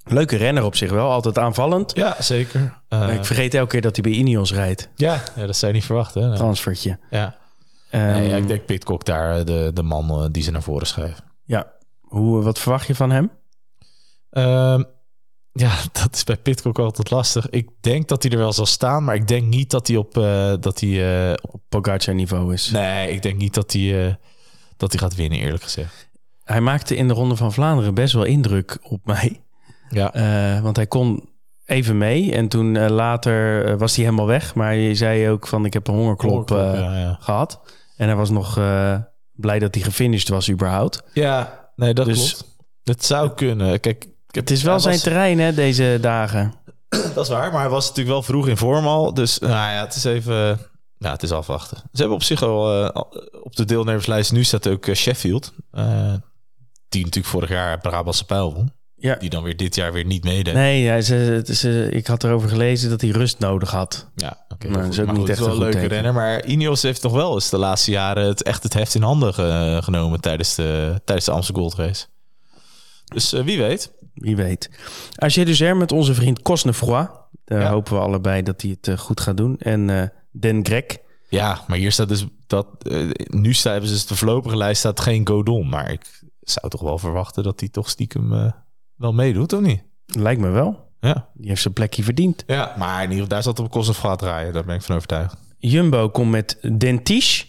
S1: Leuke renner op zich wel, altijd aanvallend.
S2: Ja, zeker.
S1: Maar ik vergeet elke keer dat hij bij Ineos rijdt.
S2: Eh, ja, ja, dat zou je niet verwachten. Hè?
S1: Transfertje.
S2: Ja.
S1: Ehm,
S2: Oh. Nee, ja, ik denk Pitcock daar eh, de, de man eh, die ze naar voren schrijft.
S1: ja. Hoe, wat verwacht je van hem?
S2: Ehm, ja, dat is bij Pitcock altijd lastig. Ik denk dat hij er wel zal staan, maar ik denk niet dat hij op, eh, dat hij, eh,
S1: Op Pogacar niveau is.
S2: Nee, ik denk niet dat hij, eh, dat hij gaat winnen, eerlijk gezegd.
S1: Hij maakte in de Ronde van Vlaanderen best wel indruk op mij.
S2: Ja.
S1: Eh, want hij kon even mee. En toen eh, later eh, was hij helemaal weg. Maar je zei ook van ik heb een hongerklop eh,
S2: ja, ja.
S1: gehad. En hij was nog eh, blij dat hij gefinished was überhaupt.
S2: ja, nee, dat
S1: Dus-
S2: klopt. Het zou kunnen. Kijk, ik heb-
S1: Het is wel
S2: hij
S1: zijn
S2: was-
S1: terrein hè, deze dagen.
S2: Dat is waar, maar hij was natuurlijk wel vroeg in vorm al. Dus nou ja, het is even... eh, Ja, het is afwachten. Ze hebben op zich al... eh, al- op de deelnemerslijst nu staat ook eh, Sheffield. eh, die natuurlijk vorig jaar Brabantse pijl won.
S1: Ja.
S2: Die dan weer dit jaar weer niet meedeed.
S1: Nee, ja, ze, ze- ik had erover gelezen dat hij rust nodig had.
S2: Ja, oké.
S1: Maar dat is ook
S2: Maar
S1: niet
S2: goed,
S1: echt
S2: het is
S1: een
S2: wel
S1: goed teken.
S2: leuke renner. Maar Ineos heeft nog wel eens de laatste jaren het echt het heft in handen eh, genomen tijdens de, tijdens de Amsterdam Gold Race. Dus eh, wie weet.
S1: Wie weet. Als dus er met onze vriend Cosnefroy. Daar
S2: Ja.
S1: hopen we allebei dat hij het eh, goed gaat doen. En eh Den Grek.
S2: Ja, maar hier staat dus dat. eh, nu staan hebben ze dus de voorlopige lijst staat geen Godon. Maar ik zou toch wel verwachten dat hij toch stiekem eh, wel meedoet, of niet?
S1: Lijkt me wel.
S2: Ja.
S1: Die heeft zijn plekje verdiend.
S2: ja. Maar in ieder geval, daar zat op kost of gaat draaien. Daar ben ik van overtuigd.
S1: Jumbo komt met Dentiche.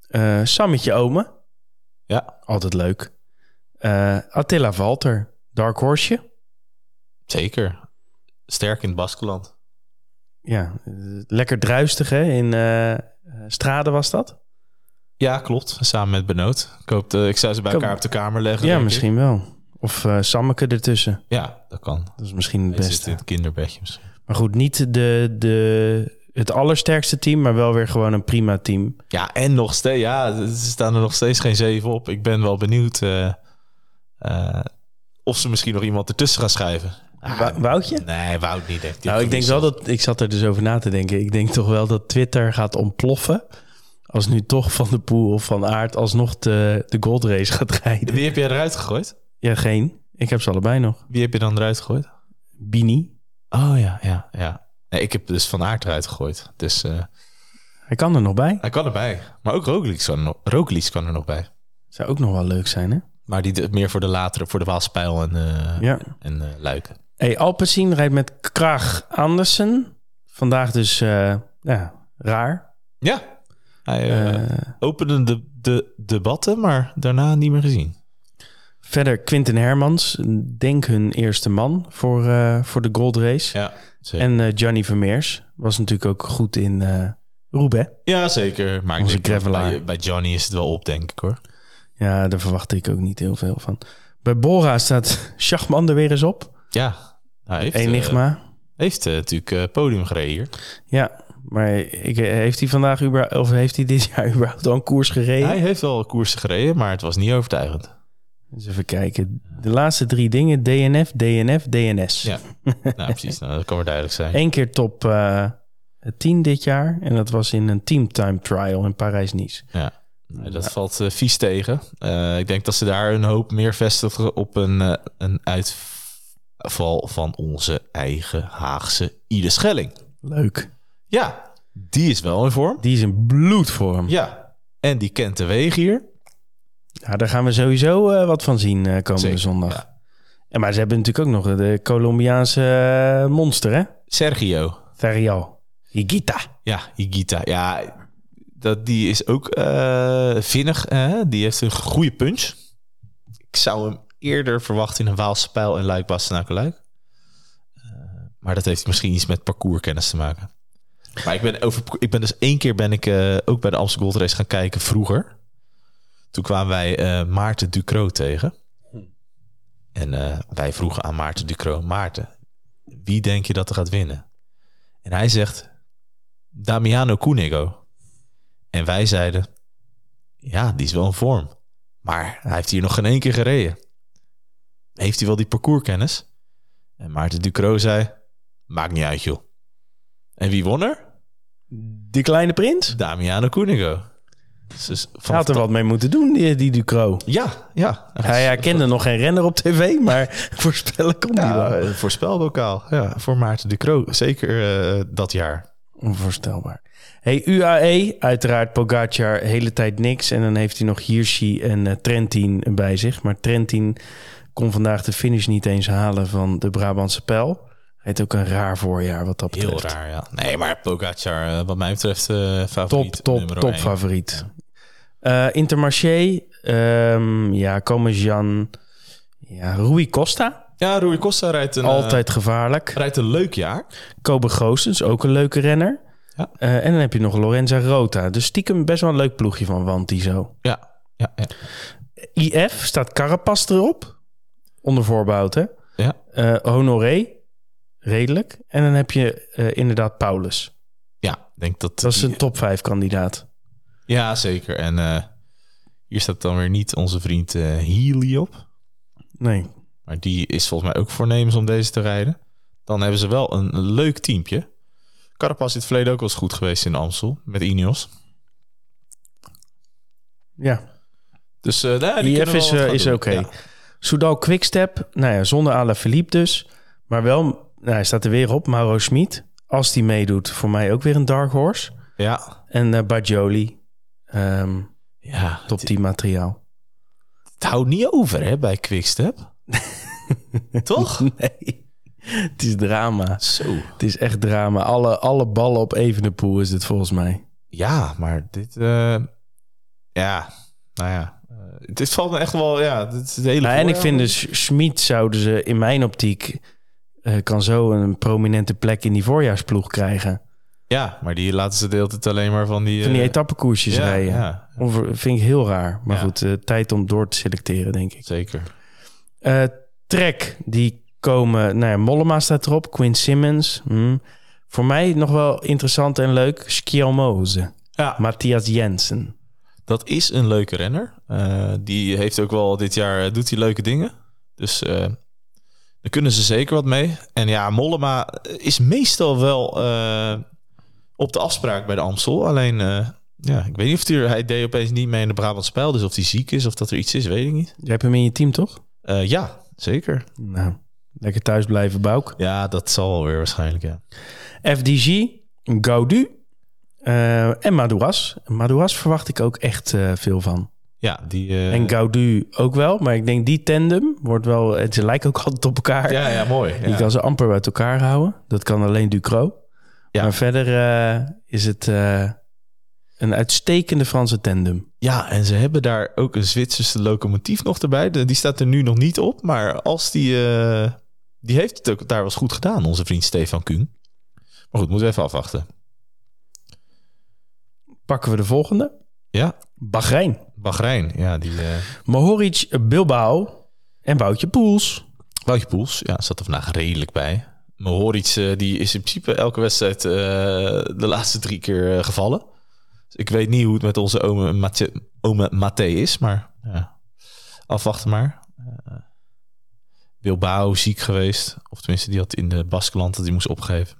S1: eh Sammetje Ome.
S2: Ja.
S1: Altijd leuk. Eh, Attila Walter. Dark Horseje.
S2: Zeker. Sterk in het Baskeland.
S1: Ja, eh, lekker druistig hè. In eh eh, Strade was dat.
S2: Ja, klopt. Samen met Benoot. Ik, hoop, eh, ik zou ze bij
S1: Kom.
S2: elkaar op de kamer leggen.
S1: Ja,
S2: denk ik.
S1: misschien wel. Of eh Sammeke ertussen.
S2: Ja, dat kan.
S1: Dat is misschien het
S2: Hij zit
S1: beste.
S2: in het kinderbedje misschien.
S1: Maar goed, niet de, de, het allersterkste team, maar wel weer gewoon een prima team.
S2: Ja, en nog steeds. Ja, ze staan er nog steeds geen zeven op. Ik ben wel benieuwd eh, eh, of ze misschien nog iemand ertussen gaan schrijven.
S1: Wa- Woutje?
S2: Ah, Nee, Wout niet. Denk ik.
S1: Nou, ik denk wel dat... Ik zat er dus over na te denken. Ik denk toch wel dat Twitter gaat ontploffen... als nu toch Van de Poel of Van Aert alsnog de, de gold race gaat rijden.
S2: Wie heb jij eruit gegooid?
S1: Ja, geen. Ik heb ze allebei nog.
S2: Wie heb je dan eruit gegooid?
S1: Bini.
S2: Oh ja, ja, ja. Nee, ik heb dus Van Aert eruit gegooid. Dus eh,
S1: Hij kan er nog bij.
S2: hij kan erbij. Maar ook Roglic kan, er nog- Roglic kan er nog bij.
S1: Zou ook nog wel leuk zijn, hè?
S2: Maar die de- meer voor de latere, voor de Waalspijl en, eh,
S1: Ja.
S2: en eh, Luiken.
S1: Hey, Alpecin rijdt met Krach Andersen. Vandaag dus eh, ja, raar.
S2: Ja. Hij eh,
S1: Eh,
S2: opende de, de debatten, maar daarna niet meer gezien.
S1: verder Quinten Hermans. Denk hun eerste man voor, eh, voor de Gold Race.
S2: Ja, zeker.
S1: En eh, Johnny Vermeers was natuurlijk ook goed in eh Roubaix.
S2: ja, zeker. Maar ik
S1: Onze
S2: denk dat
S1: gravelaar.
S2: bij, bij Johnny is het wel op, denk ik hoor.
S1: Ja, daar verwachtte ik ook niet heel veel van. Bij Bora staat Schachman er weer eens op.
S2: Ja, hij heeft, eh,
S1: Enigma.
S2: heeft eh, natuurlijk eh, podium gereden hier.
S1: ja, maar ik, eh, heeft hij vandaag überhaupt, of heeft hij dit jaar überhaupt al een koers gereden?
S2: Hij heeft wel koersen gereden, maar het was niet overtuigend.
S1: Eens even kijken. De laatste drie dingen: DNF, DNF, DNS.
S2: Ja. nou, precies. Nou, dat kan maar duidelijk zijn.
S1: Eén keer top eh 10 dit jaar. En dat was in een teamtime trial in Parijs-Nice.
S2: Nee, dat valt eh, vies tegen. Eh, ik denk dat ze daar een hoop meer vestigen op een, eh, een uitval van onze eigen Haagse Ide Schelling.
S1: Leuk.
S2: Ja, die is wel in vorm.
S1: Die is in bloedvorm. Ja.
S2: Ja, en die kent de wegen hier.
S1: daar gaan we sowieso eh, wat van zien eh, komende
S2: Zeker,
S1: zondag.
S2: ja.
S1: En, maar ze hebben natuurlijk ook nog de Colombiaanse eh, monster, hè?
S2: Sergio.
S1: Ferrial. Higuita.
S2: Ja, Higuita. Ja, dat, die is ook eh, vinnig. hè? die heeft een goede punch. Ik zou hem eerder verwachten in een Waalse pijl en luik bastenaken maar dat heeft misschien iets met parcourskennis te maken. Maar ik ben, over, ik ben dus één keer ben ik eh, ook bij de Amstel Gold Race gaan kijken vroeger. Toen kwamen wij eh, Maarten Ducro tegen. En eh, wij vroegen aan Maarten Ducro, Maarten, wie denk je dat er gaat winnen? En hij zegt, Damiano Cunego. En wij zeiden, ja, die is wel in vorm. Maar hij heeft hier nog geen één keer gereden. Heeft hij wel die parcourskennis? En Maarten Ducro zei, maakt niet uit joh. En wie won er?
S1: Die kleine prins?
S2: Damiano Cunego. Dus- Dus
S1: Hij had er
S2: dat-
S1: wat mee moeten doen, die, die Ducro.
S2: Ja, ja.
S1: Hij herkende nog geen renner op tv, maar voorspellen kon hij
S2: Ja,
S1: wel.
S2: een voorspelbokaal. Ja, voor Maarten Ducro. Zeker eh, dat jaar.
S1: Onvoorstelbaar. Hey, UAE, uiteraard Pogacar, hele tijd niks. En dan heeft hij nog Hirschi en eh, Trentin bij zich. Maar Trentin kon vandaag de finish niet eens halen van de Brabantse pijl. Heeft ook een raar voorjaar wat dat betreft.
S2: Heel raar, ja. Nee, maar Pogacar, eh, wat mij betreft, eh
S1: Top,
S2: favoriet.
S1: top,
S2: nummer
S1: top
S2: één.
S1: favoriet. Eh, Intermarché, ehm, ja, Comejan, ja, Rui Costa,
S2: Ja, Rui Costa rijdt een, eh,
S1: altijd gevaarlijk.
S2: rijdt een leuk jaar.
S1: Kobe Goossens, ook een leuke renner.
S2: Ja.
S1: Eh, en dan heb je nog Lorenza Rota. Dus stiekem best wel een leuk ploegje van Wanti zo.
S2: Ja, ja, ja.
S1: IF staat Carapaz erop. Onder voorbehoud, hè?
S2: Ja.
S1: Eh, Honoré, redelijk. En dan heb je eh, inderdaad Paulus.
S2: ja ik denk dat.
S1: Dat is
S2: die-
S1: een top 5 kandidaat.
S2: Ja, zeker. En eh, hier staat dan weer niet onze vriend eh Healy op.
S1: Nee.
S2: Maar die is volgens mij ook voornemens om deze te rijden. Dan hebben ze wel een leuk teampje. Carapaz in het verleden ook wel eens goed geweest in Amstel met Ineos.
S1: Ja.
S2: Dus eh daar die
S1: IF
S2: kunnen wel
S1: is,
S2: wat
S1: eh,
S2: gaan
S1: is
S2: doen.
S1: oké.
S2: Ja.
S1: Soudal Quickstep, nou ja, zonder Alaphilippe dus. Maar wel, nou, hij staat er weer op, Mauro Schmid. Als die meedoet, voor mij ook weer een dark horse.
S2: ja.
S1: En eh Bajoli, ehm,
S2: Ja,
S1: top 10 materiaal.
S2: het houdt niet over hè, bij Quickstep. Toch?
S1: Nee, het is drama.
S2: Zo.
S1: Het is echt drama. Alle, alle ballen op Evenepoel is het volgens mij.
S2: Ja, maar dit... eh, ja, nou ja. Eh, dit valt me echt wel... Ja, dit is het hele
S1: Nou, en ik
S2: voorjaar.
S1: vind dus, Schmid zouden ze in mijn optiek... eh, kan zo een prominente plek in die voorjaarsploeg krijgen.
S2: Ja, maar die laten ze de hele tijd alleen maar van die...
S1: dus- Van die
S2: eh,
S1: etappekoersjes
S2: ja,
S1: rijden.
S2: Ja,
S1: Onver- vind ik heel raar. Maar
S2: Ja.
S1: goed, eh, tijd om door te selecteren, denk ik.
S2: zeker.
S1: Eh, Trek, die komen... Nou ja, Mollema staat erop. Quinn Simmons. hm. Voor mij nog wel interessant en leuk. Schielmoze.
S2: Ja.
S1: Matthias Jensen.
S2: Dat is een leuke renner. Eh, die heeft ook wel dit jaar... eh, doet hij leuke dingen. Dus eh, daar kunnen ze zeker wat mee. En ja, Mollema is meestal wel eh, op de afspraak bij de Amstel. Alleen, eh, ja, ik weet niet of hij... Hij deed opeens niet mee in de Brabantse Pijl. Dus of hij ziek is of dat er iets is, weet ik niet.
S1: Je hebt hem in je team, toch?
S2: Eh, ja, zeker.
S1: Nou, lekker thuis blijven, Bouk.
S2: Ja, dat zal wel weer waarschijnlijk, ja.
S1: FDG, Gaudu eh, en Madouas. Madouas verwacht ik ook echt eh, veel van.
S2: Ja, die... eh,
S1: En Gaudu ook wel. Maar ik denk die tandem wordt wel... Het, ze lijken ook altijd op elkaar.
S2: ja, ja, mooi.
S1: Je
S2: Ja.
S1: kan ze amper uit elkaar houden. Dat kan alleen Ducro.
S2: Ja.
S1: Maar verder eh, is het eh, een uitstekende Franse tandem.
S2: Ja, en ze hebben daar ook een Zwitserse locomotief nog erbij. De- Die staat er nu nog niet op, maar als die... eh, die heeft het ook daar wel eens goed gedaan, onze vriend Stefan Kuhn. Maar goed, moeten we even afwachten.
S1: Pakken we de volgende.
S2: Ja.
S1: Bahrein.
S2: Bahrein, ja, die... eh
S1: Mohoric, Bilbao en Woutje Poels.
S2: Woutje Poels, ja, zat er vandaag redelijk bij. Mohoric, eh, die is in principe elke wedstrijd eh, de laatste drie keer eh, gevallen. Dus ik weet niet hoe het met onze ome Mathieu- ome Maté is, maar ja, afwachten maar. Eh, Bilbao ziek geweest, of tenminste die had in de Baskeland dat hij moest opgeven.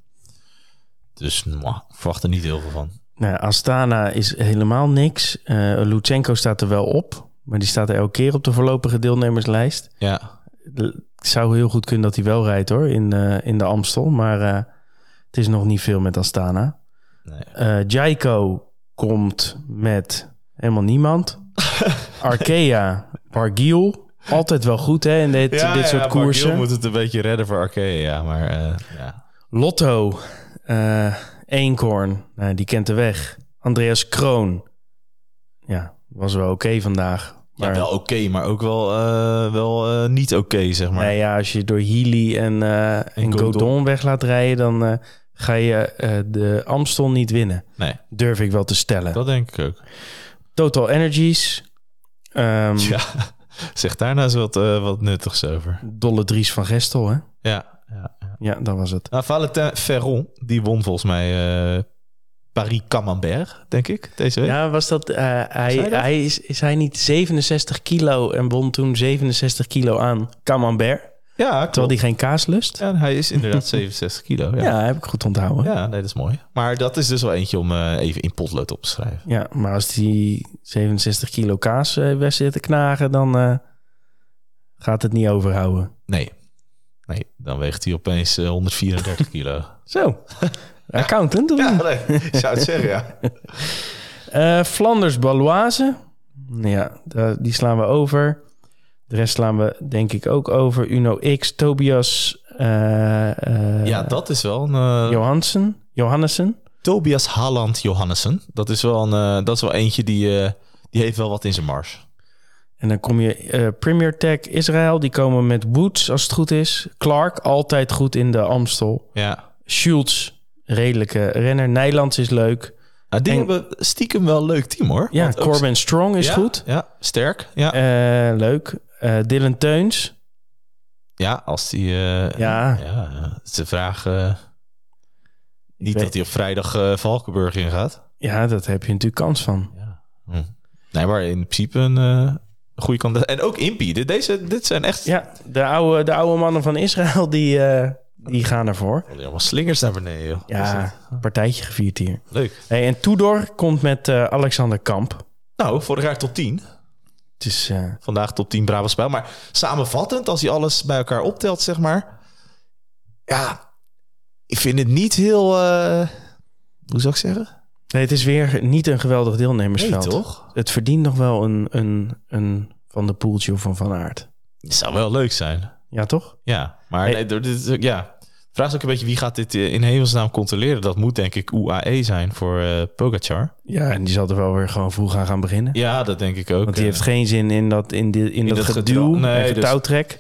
S2: Dus mwah, ik verwacht er niet heel veel van.
S1: Nou, ja, Astana is helemaal niks. Eh Lutsenko staat er wel op. Maar die staat er elke keer op de voorlopige deelnemerslijst.
S2: Ja,
S1: Het zou heel goed kunnen dat hij wel rijdt hoor, in, eh, in de Amstel. Maar eh, het is nog niet veel met Astana.
S2: nee.
S1: Eh Jaiko komt met helemaal niemand. Arkea, Bargiel. Altijd wel goed hè, in dit, dit soort koersen.
S2: moet het een beetje redden voor Arkea, ja, maar eh, ja.
S1: Lotto, eh Eenkorn, nou, die kent de weg. Andreas Kroon, ja, was wel oké vandaag.
S2: Ja, wel oké, maar ook wel, eh, wel eh, niet oké, zeg maar.
S1: Nee, ja, als je door Healy en, eh en, Godon.
S2: Godon.
S1: weg laat rijden, dan eh, ga je eh, de Amstel niet winnen.
S2: Nee.
S1: Durf ik wel te stellen.
S2: Dat denk ik ook.
S1: Total Energies, ehm,
S2: Ja, zeg daar nou eens wat, eh, wat nuttigs over.
S1: Dolle Dries van Gestel, hè?
S2: Ja. ja.
S1: Ja, dat was het.
S2: Nou, Valentin Ferron, die won volgens mij eh, Paris Camembert, denk ik, deze week.
S1: Ja, was dat, eh, hij,
S2: Zei dat?
S1: Hij is, is hij niet 67 kilo en won toen 67 kilo aan Camembert?
S2: Ja,
S1: Terwijl
S2: klopt.
S1: die geen kaas lust?
S2: Ja, hij is inderdaad 67 kilo.
S1: Ja,
S2: Ja. Ja.
S1: heb ik goed onthouden. Ja.
S2: nee, dat is mooi. Maar dat is dus wel eentje om eh, even in potlood op te schrijven.
S1: maar als die 67 kilo kaas eh weg zit te knagen, dan eh, gaat het niet overhouden.
S2: Nee. Nee, dan weegt hij opeens eh, 134 kilo.
S1: Zo, accountant. of niet?
S2: ik zou het zeggen, ja.
S1: Eh, Flanders Baloise. Ja, da- die slaan we over. De rest slaan we denk ik ook over. Uno X, Tobias eh, eh,
S2: Ja, dat is wel een... eh,
S1: Johansen. Johannessen.
S2: Tobias Haaland Johannessen. Dat is wel, een, eh, dat is wel eentje die, eh, die heeft wel wat in zijn mars.
S1: En dan kom je eh, Premier Tech Israël. Die komen met Woods als het goed is. Clark altijd goed in de Amstel.
S2: Ja.
S1: Schultz, redelijke renner. Nijlands is leuk.
S2: Nou, die
S1: En-
S2: hebben stiekem wel een leuk team hoor.
S1: Ja,
S2: Want ook-
S1: Corbin Strong is
S2: Ja,
S1: goed.
S2: Ja, sterk. Ja,
S1: Eh, leuk. Eh, Dylan Teuns.
S2: ja als die... eh,
S1: Ja.
S2: ja, eh, het is de vraag... eh, niet
S1: weet-
S2: dat hij op vrijdag eh, Valkenburg ingaat.
S1: Ja, dat heb je natuurlijk kans van.
S2: Hm. Nee, maar in principe een eh, goede kandidaat. En ook Impie. Dit, deze, dit zijn echt...
S1: Ja, de oude, de oude mannen van Israël, die, eh, die gaan ervoor.
S2: Oh, Allemaal slingers naar beneden. Joh. Is
S1: Ja, partijtje gevierd hier.
S2: dat Leuk.
S1: Hey, en Tudor komt met eh, Alexander Kamp.
S2: Nou, vorig jaar tot 10.
S1: Het is, eh,
S2: vandaag tot 10 Brabants spel. Maar samenvattend, als hij alles bij elkaar optelt, zeg maar. Ja, ik vind het niet heel. eh, hoe zou ik zeggen?
S1: nee, het is weer niet een geweldig deelnemersveld.
S2: toch?
S1: Het verdient nog wel een, een, een Van de Poeltje of een Van Aert.
S2: Het zou wel leuk zijn.
S1: Ja, toch?
S2: Ja, maar
S1: Hey.
S2: nee, door dit, is ook- ja. De vraag is ook een beetje wie gaat dit eh, in hemelsnaam controleren. Dat moet denk ik UAE zijn voor eh Pogacar.
S1: Ja, en die zal er wel weer gewoon vroeg aan gaan beginnen.
S2: Ja, dat denk ik ook.
S1: Want die
S2: eh.
S1: heeft geen zin in dat, in die, in dat,
S2: dat
S1: geduw
S2: gedrag. Nee,
S1: en getouwtrek.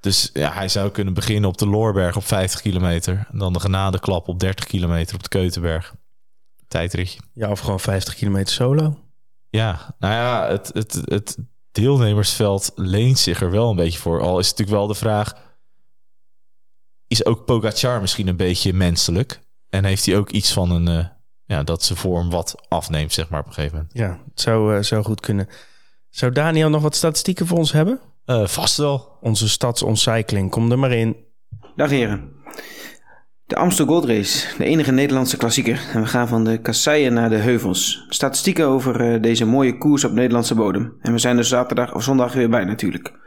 S2: Dus ja, hij zou kunnen beginnen op de Loorberg op 50 kilometer. En dan de genadeklap op 30 kilometer op de Keutenberg. Tijdritje.
S1: Ja, of gewoon 50 kilometer solo.
S2: Ja, nou ja, het, het, het deelnemersveld leent zich er wel een beetje voor. Al is het natuurlijk wel de vraag... is ook Pogacar misschien een beetje menselijk? En heeft hij ook iets van een... eh, ja, dat zijn vorm wat afneemt, zeg maar, op een gegeven moment.
S1: Ja, het zou, eh, zou goed kunnen. Zou Daniel nog wat statistieken voor ons hebben?
S2: Eh, vast wel.
S1: Onze stadsoncycling, kom er maar in.
S5: Dag heren. De Amstel Gold Race, de enige Nederlandse klassieker. En we gaan van de kasseien naar de heuvels. Statistieken over eh, deze mooie koers op Nederlandse bodem. En we zijn er zaterdag of zondag weer bij natuurlijk.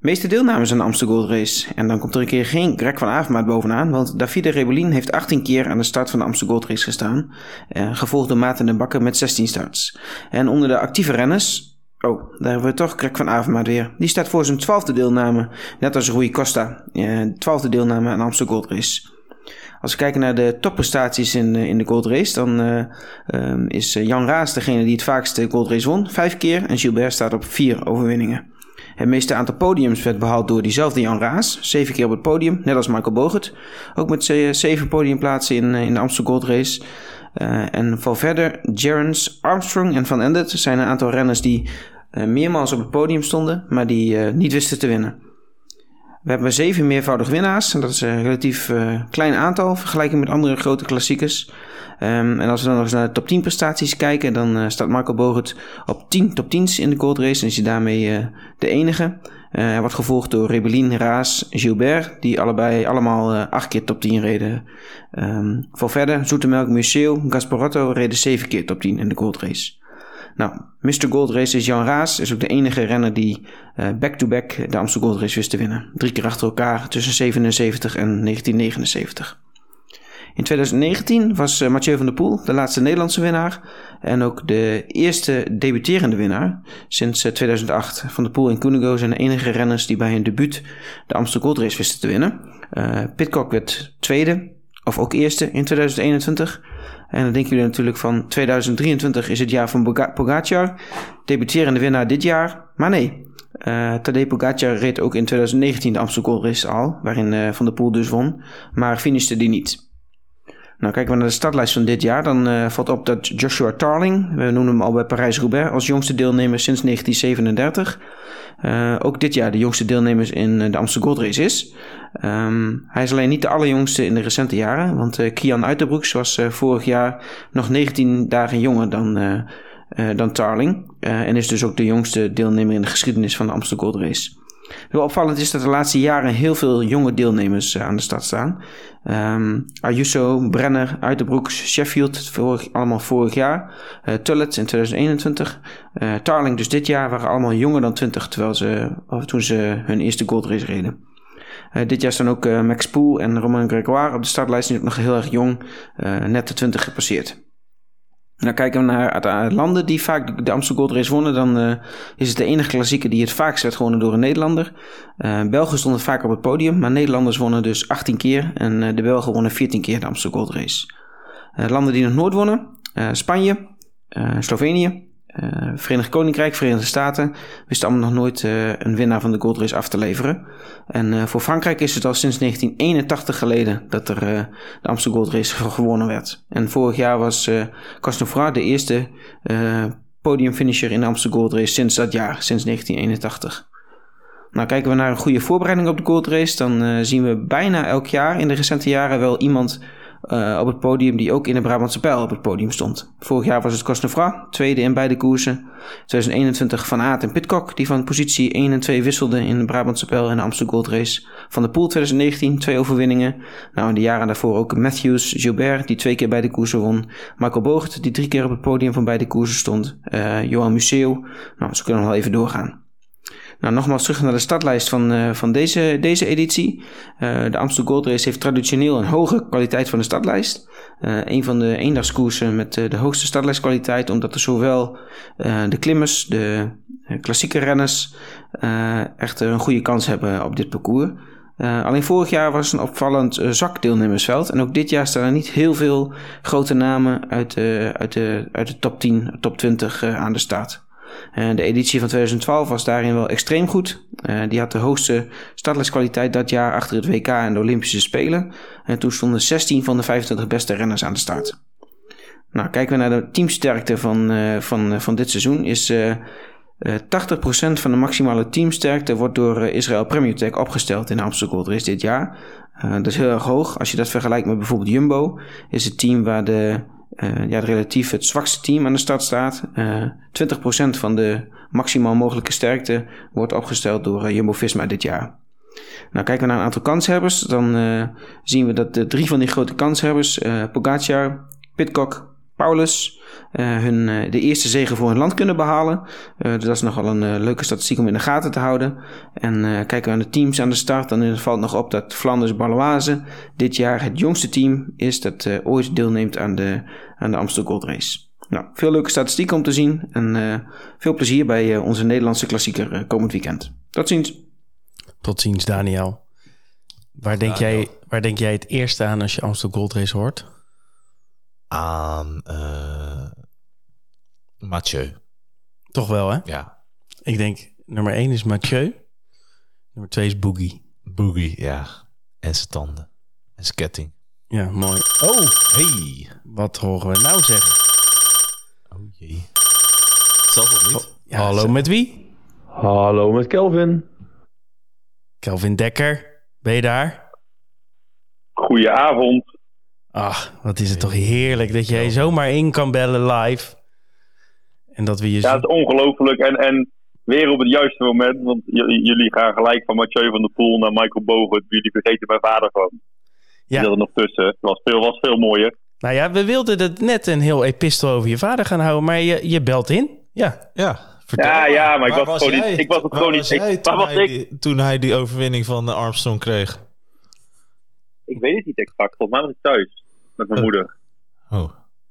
S5: Meeste deelnames aan de Amstel Gold Race. En dan komt er een keer geen Greg van Avermaat bovenaan. Want Davide Rebellin heeft 18 keer aan de start van de Amstel Gold Race gestaan. eh, gevolgd door Maarten den Bakker met 16 starts. En onder de actieve renners Oh, daar hebben we toch Greg van Avermaat weer. Die staat voor zijn twaalfde deelname, net als Rui Costa. eh, Twaalfde deelname aan de Amstel Gold Race. Als we kijken naar de topprestaties in, eh, in de Gold Race, dan eh, ehm, is eh, Jan Raas degene die het vaakst de Gold Race won. Vijf keer en Gilbert staat op vier overwinningen. Het meeste aantal podiums werd behaald door diezelfde Jan Raas. Zeven keer op het podium, net als Michael Bogert. Ook met ze- zeven podiumplaatsen in, eh, in de Amstel Gold Race. Eh, en Valverde, Gerrans, Armstrong en Van Endert zijn een aantal renners die eh, meermaals op het podium stonden, maar die eh, niet wisten te winnen. We hebben zeven meervoudig winnaars. En dat is een relatief eh, klein aantal in vergelijking met andere grote klassiekers. Ehm, en als we dan nog eens naar de top 10 prestaties kijken, dan eh, staat Marco Bogert op 10 top 10's in de Gold Race en is hij daarmee eh, de enige. Eh, hij wordt gevolgd door Rebellin, Raas, Gilbert, die allebei allemaal eh, acht keer top 10 reden. Ehm voor verder, Zoetemelk, Museo, Gasparotto reden zeven keer top 10 in de Gold Race. Nou, Mr. Gold Race is Jan Raas, is ook de enige renner die eh, back-to-back de Amstel Gold Race wist te winnen. Drie keer achter elkaar tussen 77 en 1979. In 2019 was eh, Mathieu van der Poel de laatste Nederlandse winnaar en ook de eerste debuterende winnaar sinds eh, 2008. Van der Poel en Koenigo zijn de enige renners die bij hun debuut de Amstel Gold Race wisten te winnen. Eh Pitcock werd tweede, of ook eerste in 2021. En dan denken jullie natuurlijk van 2023 is het jaar van Boga- Pogacar, debuterende winnaar dit jaar. Maar nee, eh Tadej Pogacar reed ook in 2019 de Amstel Gold Race al, waarin eh, Van der Poel dus won, maar finishte die niet. Nou, kijken we naar de startlijst van dit jaar, dan eh, valt op dat Joshua Tarling, we noemen hem al bij Parijs-Roubaix, als jongste deelnemer sinds 1937, eh, ook dit jaar de jongste deelnemer in eh, de Amstel Gold Race is. Ehm, hij is alleen niet de allerjongste in de recente jaren, want eh, Kian Uiterbroeks was eh, vorig jaar nog 19 dagen jonger dan, eh, eh, dan Tarling. eh, en is dus ook de jongste deelnemer in de geschiedenis van de Amstel Gold Race. Wel opvallend is dat de laatste jaren heel veel jonge deelnemers eh, aan de start staan. Ehm Ayuso, Brenner, Uiterbroeks, Sheffield, vorig, allemaal vorig jaar. Eh, Tullet in 2021. eh, Tarling dus dit jaar waren allemaal jonger dan 20 terwijl ze, of toen ze hun eerste Gold Race reden. Eh, dit jaar staan ook eh, Max Poel en Romain Grégoire op de startlijst. Die is ook nog heel erg jong, eh, net de 20 gepasseerd. En dan kijken we naar de eh, landen die vaak de Amstel Gold Race wonnen. Dan eh, is het de enige klassieker die het vaakst werd gewonnen door een Nederlander. Eh, Belgen stonden vaak op het podium, maar Nederlanders wonnen dus 18 keer. En eh, de Belgen wonnen 14 keer de Amstel Gold Race. Eh, landen die nog nooit wonnen: eh, Spanje, eh, Slovenië, eh, Verenigd Koninkrijk, Verenigde Staten. Wisten allemaal nog nooit eh, een winnaar van de Gold Race af te leveren. En eh, voor Frankrijk is het al sinds 1981 geleden dat er eh, de Amstel Gold Race ge- gewonnen werd. En vorig jaar was eh Cosnefroid de eerste eh, podiumfinisher in de Amstel Gold Race sinds dat jaar, sinds 1981. Nou, kijken we naar een goede voorbereiding op de Gold Race, dan eh, zien we bijna elk jaar in de recente jaren wel iemand eh, op het podium die ook in de Brabantse Pijl op het podium stond. Vorig jaar was het Cosnefra, tweede in beide koersen. 2021 Van Aert en Pitcock, die van positie 1 en 2 wisselden in de Brabantse Pijl en de Amsterdam Gold Race. Van de Poel 2019, twee overwinningen. Nou, in de jaren daarvoor ook Matthews, Gilbert, die twee keer beide koersen won. Marco Boogert, die drie keer op het podium van beide koersen stond. Eh, Johan Museo, nou, zo kunnen we nog wel even doorgaan. Nou, nogmaals terug naar de startlijst van, eh, van deze, deze editie. Eh, de Amstel Gold Race heeft traditioneel een hoge kwaliteit van de startlijst. Eh, een van de eendagskoersen met eh, de hoogste startlijstkwaliteit, omdat er zowel eh, de klimmers, de eh, klassieke renners, eh, echt een goede kans hebben op dit parcours. Eh, alleen vorig jaar was een opvallend eh, zwak deelnemersveld. En ook dit jaar staan er niet heel veel grote namen uit, de uit, de, uit de top 10, top 20 eh, aan de start. Eh, de editie van 2012 was daarin wel extreem goed. Eh, die had de hoogste startlijstkwaliteit dat jaar achter het WK en de Olympische Spelen. En toen stonden 16 van de 25 beste renners aan de start. Nou, kijken we naar de teamsterkte van, eh, van, eh, van dit seizoen. Is, eh, eh, 80% van de maximale teamsterkte wordt door eh, Israël Premier Tech opgesteld in de Amsterdam Gold Race dit jaar. Eh, dat is heel erg hoog. Als je dat vergelijkt met bijvoorbeeld Jumbo, is het team waar de eh, ja, het relatief het zwakste team aan de start staat. Eh, 20% van de maximaal mogelijke sterkte wordt opgesteld door eh, Jumbo-Visma dit jaar. Nou, kijken we naar een aantal kanshebbers, dan eh, zien we dat de drie van die grote kanshebbers, eh Pogacar, Pitcock, Paulus, eh, hun, eh, de eerste zegen voor hun land kunnen behalen. Eh, dus dat is nogal een eh, leuke statistiek om in de gaten te houden. En eh, kijken we aan de teams aan de start, dan valt nog op dat Flanders Baloise dit jaar het jongste team is dat eh, ooit deelneemt aan de, aan de Amstel Gold Race. Nou, veel leuke statistieken om te zien en eh, veel plezier bij eh, onze Nederlandse klassieker eh, komend weekend. Tot ziens.
S1: Tot ziens, Daniel. Waar denk, Jij, waar denk jij het eerste aan als je Amsterdam Gold Race hoort?
S2: Aan eh Mathieu.
S1: Toch wel, hè?
S2: Ja.
S1: Ik denk nummer 1 is Mathieu. Nummer 2 is Boogie.
S2: Boogie, ja. En zijn tanden. En zijn ketting.
S1: Ja, mooi.
S2: Oh, hey.
S1: Wat horen we nou zeggen?
S2: Oh jee. Zal toch niet?
S1: Ja, Hallo met wie?
S6: Hallo met Kelvin.
S1: Kelvin Dekker. Ben je daar?
S6: Goedenavond.
S1: Ach, Ah, wat is het toch heerlijk dat jij zomaar in kan bellen live. En dat we je
S6: Ja,
S1: zien.
S6: het is ongelooflijk. En, en weer op het juiste moment, want j- jullie gaan gelijk van Mathieu van der Poel naar Michael Bogert. Jullie vergeten mijn vader gewoon. Die
S1: Ja.
S6: zat er nog tussen. Het was veel, was veel mooier.
S1: Nou ja, we wilden het net een heel epistel over je vader gaan houden, maar je, je belt in. Ja,
S2: Ja,
S6: Ja,
S2: maar.
S6: ja, maar ik
S2: Waar
S6: was het gewoon
S2: jij?
S6: niet- ik was het
S2: Waar
S6: gewoon niet- ik-
S2: jij
S6: waar
S2: toen
S6: was
S2: hij
S6: ik?
S2: die- Toen hij die overwinning van eh, Armstrong kreeg.
S6: Ik weet het niet exact. Volgens mij was ik thuis met mijn moeder.
S2: Oh.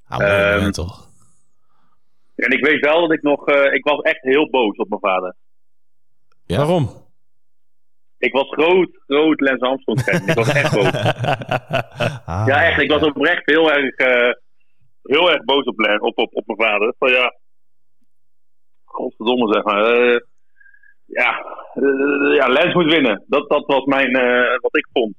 S2: Ah, mooi
S6: Ehm,
S2: moment toch?
S6: En ik weet wel dat ik nog... eh, ik was echt heel boos op mijn vader.
S2: Ja.
S1: waarom?
S6: Ik was groot, groot Lens Armstrong fan. Ik was echt boos.
S2: Ah,
S6: oh. Ja, echt. Ik was oprecht heel erg, eh, heel erg boos op, Len- op, op, op mijn vader. Van ja, godverdomme zeg maar. eh, ja, eh, ja, Lens moet winnen. Dat, dat was mijn, eh, wat ik vond.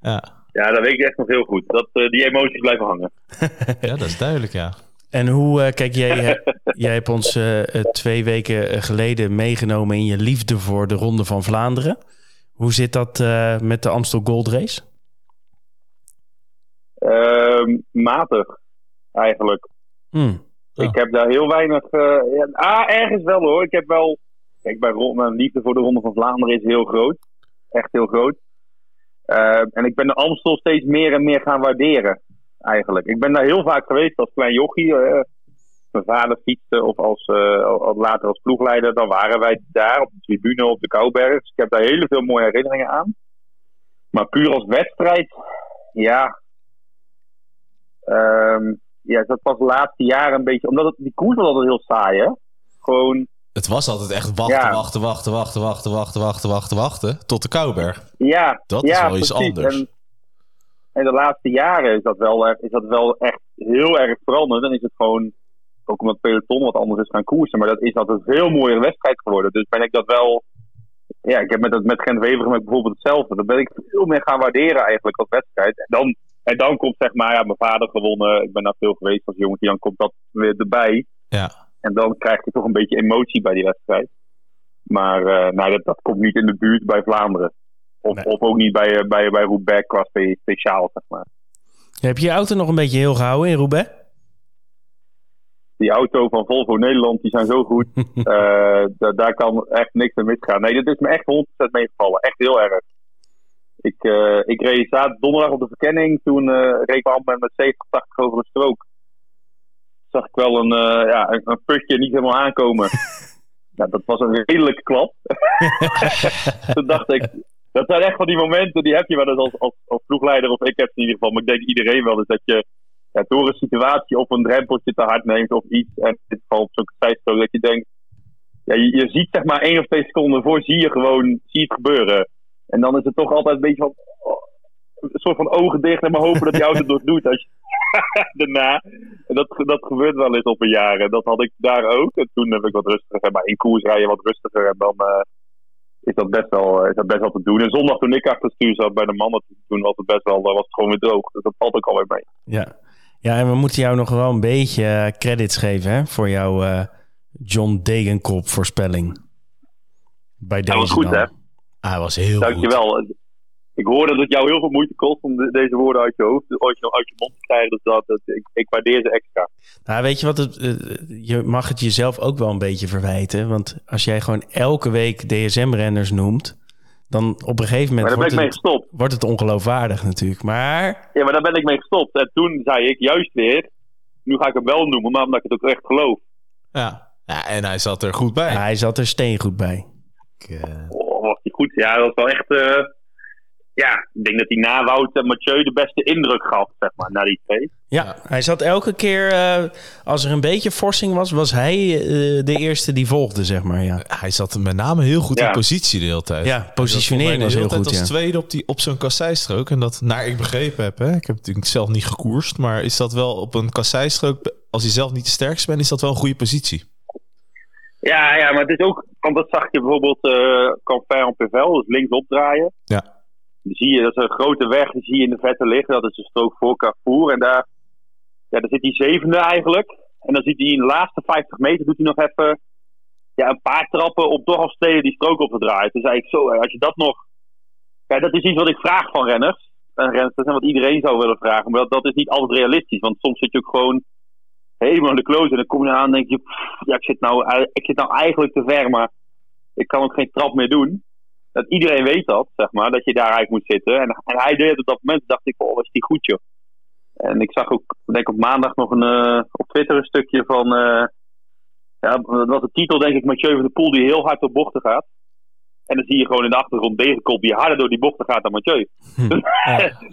S2: Ja.
S6: Ja, dat weet ik echt nog heel goed. Dat, eh, die emoties blijven hangen.
S2: ja, dat is duidelijk, ja.
S1: En hoe, eh, kijk, jij, eh, jij hebt ons eh, eh, twee weken eh, geleden meegenomen in je liefde voor de Ronde van Vlaanderen. Hoe zit dat eh, met de Amstel Gold Race?
S6: Ehm, matig, eigenlijk.
S1: Hmm.
S2: Ja.
S6: Ik heb daar heel weinig. eh, ja, ah, ergens wel hoor. Ik heb wel. Kijk, bij Ron- mijn liefde voor de Ronde van Vlaanderen is heel groot. Echt heel groot. Eh, en ik ben de Amstel steeds meer en meer gaan waarderen. Eigenlijk. Ik ben daar heel vaak geweest als klein jochie. eh, mijn vader fietste of als, eh, al- al- later als ploegleider. Dan waren wij daar op de tribune op de Kouberg. Dus ik heb daar heel veel mooie herinneringen aan. Maar puur als wedstrijd, ja. Ehm ja, dat was de laatste jaren een beetje. Omdat het, die koers was altijd heel saai, hè? Gewoon,
S2: Het was altijd echt wachten,
S6: Ja.
S2: wachten, wachten, wachten, wachten, wachten, wachten, wachten, wachten. Tot de Kouberg.
S6: ja.
S2: Dat
S6: ja,
S2: is wel iets
S6: precies.
S2: anders.
S6: En, en de laatste jaren is dat, wel, erg- is dat wel echt heel erg veranderd. Dan is het gewoon, ook omdat peloton wat anders is gaan koersen. Maar dat is altijd een veel mooiere wedstrijd geworden. Dus ben ik dat wel... Ja, ik heb met, dat- met Gent Wever bijvoorbeeld hetzelfde. Dat ben ik veel meer gaan waarderen eigenlijk als wedstrijd. En dan, en dan komt zeg maar, ja, mijn vader gewonnen. Ik ben daar veel geweest als jongetje. Dan komt dat weer erbij.
S2: Ja.
S6: En dan krijg je toch een beetje emotie bij die wedstrijd. Maar eh, nou, dat, dat komt niet in de buurt bij Vlaanderen. Of,
S1: Nee.
S6: of ook niet bij, eh, bij, bij Roubaix qua spe- speciaal, zeg maar.
S1: Heb je je auto nog een beetje heel gehouden in Roubaix?
S6: Die auto van Volvo Nederland, die zijn zo goed. Eh, da- daar kan echt niks aan misgaan. Nee, dit is me echt 100% meegevallen. Echt heel erg. Ik, eh, ik reed zaterdag donderdag op de verkenning. Toen eh reed ik met, met 70, 80 over de strook. Zag ik wel een, eh ja, een, een putje niet helemaal aankomen. nou, dat was een redelijke klap. toen dacht ik... Dat zijn echt van die momenten, die heb je wel eens als, als, als ploegleider. Of ik heb het in ieder geval. Maar ik denk iedereen wel eens dat je ja, door een situatie of een drempeltje te hard neemt of iets. En in dit geval op zo'n tijdstoot dat je denkt... Ja, je, je ziet zeg maar één of twee seconden voor, zie je gewoon, zie je het gebeuren. En dan is het toch altijd een beetje van... oh, een soort van ogen dicht en maar hopen dat die auto het nog doet als je, daarna. En dat, dat gebeurt wel eens op een jaar. En dat had ik daar ook. En toen heb ik wat rustiger, maar in koers rijden wat rustiger. En dan eh, is, dat best wel, eh, is dat best wel te doen. En zondag toen ik achter het stuur zat bij de mannen, toen was het best wel, eh, was het gewoon weer droog. Dus dat valt ook alweer mee.
S1: Ja. ja, en we moeten jou nog wel een beetje eh, credits geven hè, voor jouw eh, John Degenkop voorspelling. Bij deze
S6: was goed,
S1: dan.
S6: hè?
S2: Ah, hij was heel goed.
S6: Dankjewel. Ik hoorde dat het jou heel veel moeite kost om de- deze woorden uit je hoofd, uit je, uit je mond te krijgen. Dus dat, dat- ik, ik waardeer ze extra.
S1: Nou, weet je wat? Het, eh, je mag het jezelf ook wel een beetje verwijten. Want als jij gewoon elke week DSM-renners noemt, dan op een gegeven
S6: Maar
S1: moment
S6: daar ben
S1: wordt
S6: ik mee
S1: het,
S6: gestopt.
S1: wordt het ongeloofwaardig natuurlijk. Maar
S6: Ja, maar daar ben ik mee gestopt. En toen zei ik juist weer, nu ga ik hem wel noemen, maar omdat ik het ook echt geloof.
S2: Ja. ja. En hij zat er goed bij.
S1: hij zat er steengoed bij.
S2: Ik, eh,
S6: Oh, was die goed. Ja, dat was wel echt... eh, ja, ik denk dat hij na Wout en Mathieu de beste indruk gaf, zeg maar, na die twee.
S1: Ja, hij zat elke keer, eh, als er een beetje forsing was, was hij eh, de eerste die volgde, zeg maar. Ja,
S2: Hij zat met name heel goed
S6: Ja.
S2: in positie de hele tijd.
S1: ja positionering was heel goed,
S2: Als
S1: ja.
S2: tweede op, die, op zo'n kasseistrook. En dat, naar ik begrepen heb, hè, ik heb natuurlijk zelf niet gekoerst. Maar is dat wel op een kasseistrook, als je zelf niet de sterkste bent, is dat wel een goede positie.
S6: Ja, ja, maar het is ook, want dat zag je bijvoorbeeld eh Canfin op Pivel, dus links opdraaien.
S2: Ja.
S6: Dan zie je, dat is een grote weg, die zie je in de vette liggen, dat is een strook voor Carrefour. En daar, ja, daar zit die zevende eigenlijk. En dan ziet hij in de laatste 50 meter, doet hij nog even ja, een paar trappen op toch steden die strook op te draaien. Dus eigenlijk zo, eh, als je dat nog... Ja, dat is iets wat ik vraag van renners. En rensters, en wat iedereen zou willen vragen. Maar dat, dat is niet altijd realistisch, want soms zit je ook gewoon helemaal in de kloos. En dan kom je aan en denk je, pff, ja, ik, zit nou, ik zit nou eigenlijk te ver, maar ik kan ook geen trap meer doen. Dat iedereen weet dat, zeg maar, dat je daar eigenlijk moet zitten. En, en hij deed het op dat moment, dacht ik, oh, was die goed, joh. En ik zag ook, denk ik, op maandag nog een, eh, op Twitter een stukje van, eh, ja, dat was de titel, denk ik, Mathieu van der Poel, die heel hard door bochten gaat. En dan zie je gewoon in de achtergrond Degenkop die harder door die bochten gaat dan Mathieu.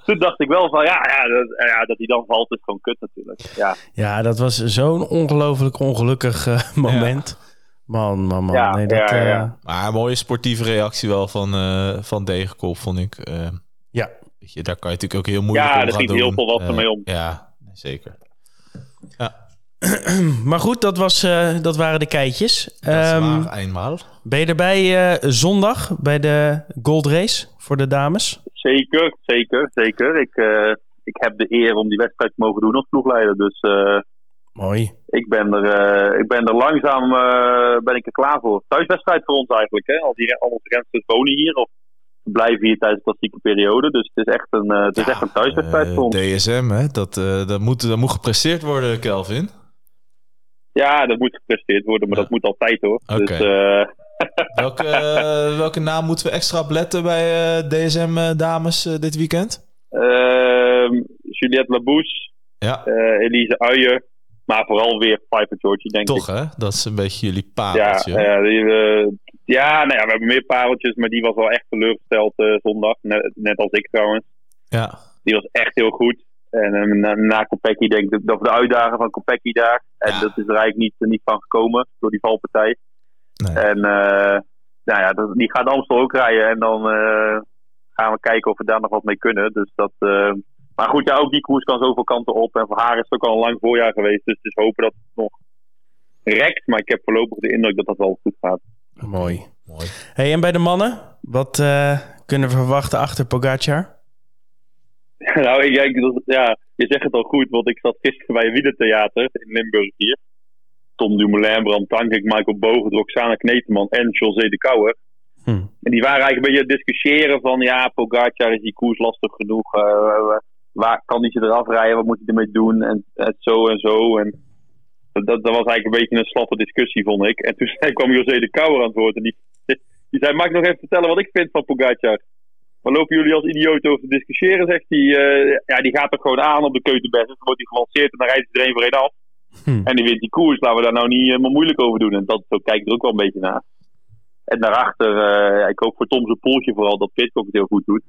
S6: Toen dacht ik wel van, ja, ja, dat, ja, dat hij dan valt is gewoon kut natuurlijk. Ja.
S1: Hm. Ja, dat was zo'n ongelooflijk ongelukkig eh, moment. Man, man, man.
S6: Ja,
S1: nee, dat,
S6: ja, ja.
S1: eh,
S2: Maar een mooie sportieve reactie wel van, eh van Degenkop, vond ik. Eh,
S1: Ja.
S2: weet je, daar kan je natuurlijk ook heel moeilijk
S6: Ja,
S2: om
S6: daar
S2: gaan
S6: schiet heel
S2: doen.
S6: veel wat
S2: Eh,
S6: ermee om.
S2: Ja, zeker.
S1: hm. Maar goed, dat, was, eh, dat waren de keitjes.
S2: Dat is
S1: Ehm,
S2: waar, eenmaal.
S1: ben je erbij eh, zondag bij de Gold Race voor de dames?
S6: Zeker, zeker, zeker. Ik, eh, ik heb de eer om die wedstrijd te mogen doen als ploegleider. Dus eh,
S1: Mooi.
S6: ik, ben er, eh, ik ben er langzaam eh, ben ik er klaar voor. Thuiswedstrijd voor ons eigenlijk. Hè? Al, die, re- al onze rensters wonen hier of blijven hier tijdens de klassieke periode. Dus het is echt een, eh, het is
S2: Ja,
S6: echt een thuiswedstrijd
S2: Eh,
S6: voor ons.
S2: DSM, hè? Dat, eh, dat, moet, dat moet gepresteerd worden, Kelvin.
S6: Ja, dat moet gepresteerd worden, maar
S2: Ja.
S6: dat moet altijd hoor.
S2: Oké.
S6: Dus, eh,
S2: Welke, eh, welke naam moeten we extra op letten bij eh, DSM eh, dames eh, dit weekend?
S6: ehm, Juliette Labouche,
S2: Ja,
S6: eh, Elise Uijer. Maar vooral weer Piper Georgie, denk ik.
S2: toch hè? Dat is een beetje jullie
S6: Ja,
S2: pareltje.
S6: ja, die, eh, ja, nou ja, we hebben meer pareltjes, maar die was wel echt teleurgesteld eh, zondag. Net, net als ik trouwens.
S2: ja.
S6: Die was echt heel goed. En eh, na, na Kopecky denk ik dat we de uitdaging van Kopecky daar. En
S2: Ja.
S6: dat is er eigenlijk niet, niet van gekomen door die valpartij.
S2: Nee.
S6: En eh, nou ja, dat- die gaat Amstel ook rijden. En dan eh, gaan we kijken of we daar nog wat mee kunnen. Dus dat, eh, maar goed, ja, ook die koers kan zoveel kanten op. En voor haar is het ook al een lang voorjaar geweest. Dus het is hopen dat het nog rekt. Maar ik heb voorlopig de indruk dat dat wel goed gaat.
S1: Mooi.
S2: Mooi.
S1: Hey, en bij de mannen? Wat eh, kunnen we verwachten achter Pogacar?
S6: Nou, ik, ik- dat- ja, je zegt het al goed, want ik zat gisteren bij een wielertheater in Limburg hier. Tom Dumoulin, Bram Tankink, Michael Bogen, Roxana Kneteman en José de Kouwer.
S1: Hm.
S6: En die waren eigenlijk een beetje aan het discussiëren van, ja, Pogacar is die koers lastig genoeg. eh, waar kan hij ze eraf rijden? Wat moet hij ermee doen? En, en zo en zo. En dat, dat was eigenlijk een beetje een slappe discussie, vond ik. En toen kwam José de Kouwer aan het woord en die, die zei, mag ik nog even vertellen wat ik vind van Pogacar? Maar lopen jullie als idioten over te discussiëren, zegt hij. eh, ja, die gaat er gewoon aan op de keutenbest. Dan wordt hij gelanceerd en dan rijdt hij er één voor één af.
S1: Hm.
S6: En die wint die koers. Laten we daar nou niet helemaal moeilijk over doen. En dat, zo kijk ik er ook wel een beetje naar. En daarachter, eh, ja, ik hoop voor Tom zijn poeltje vooral dat Pitcock het heel goed doet.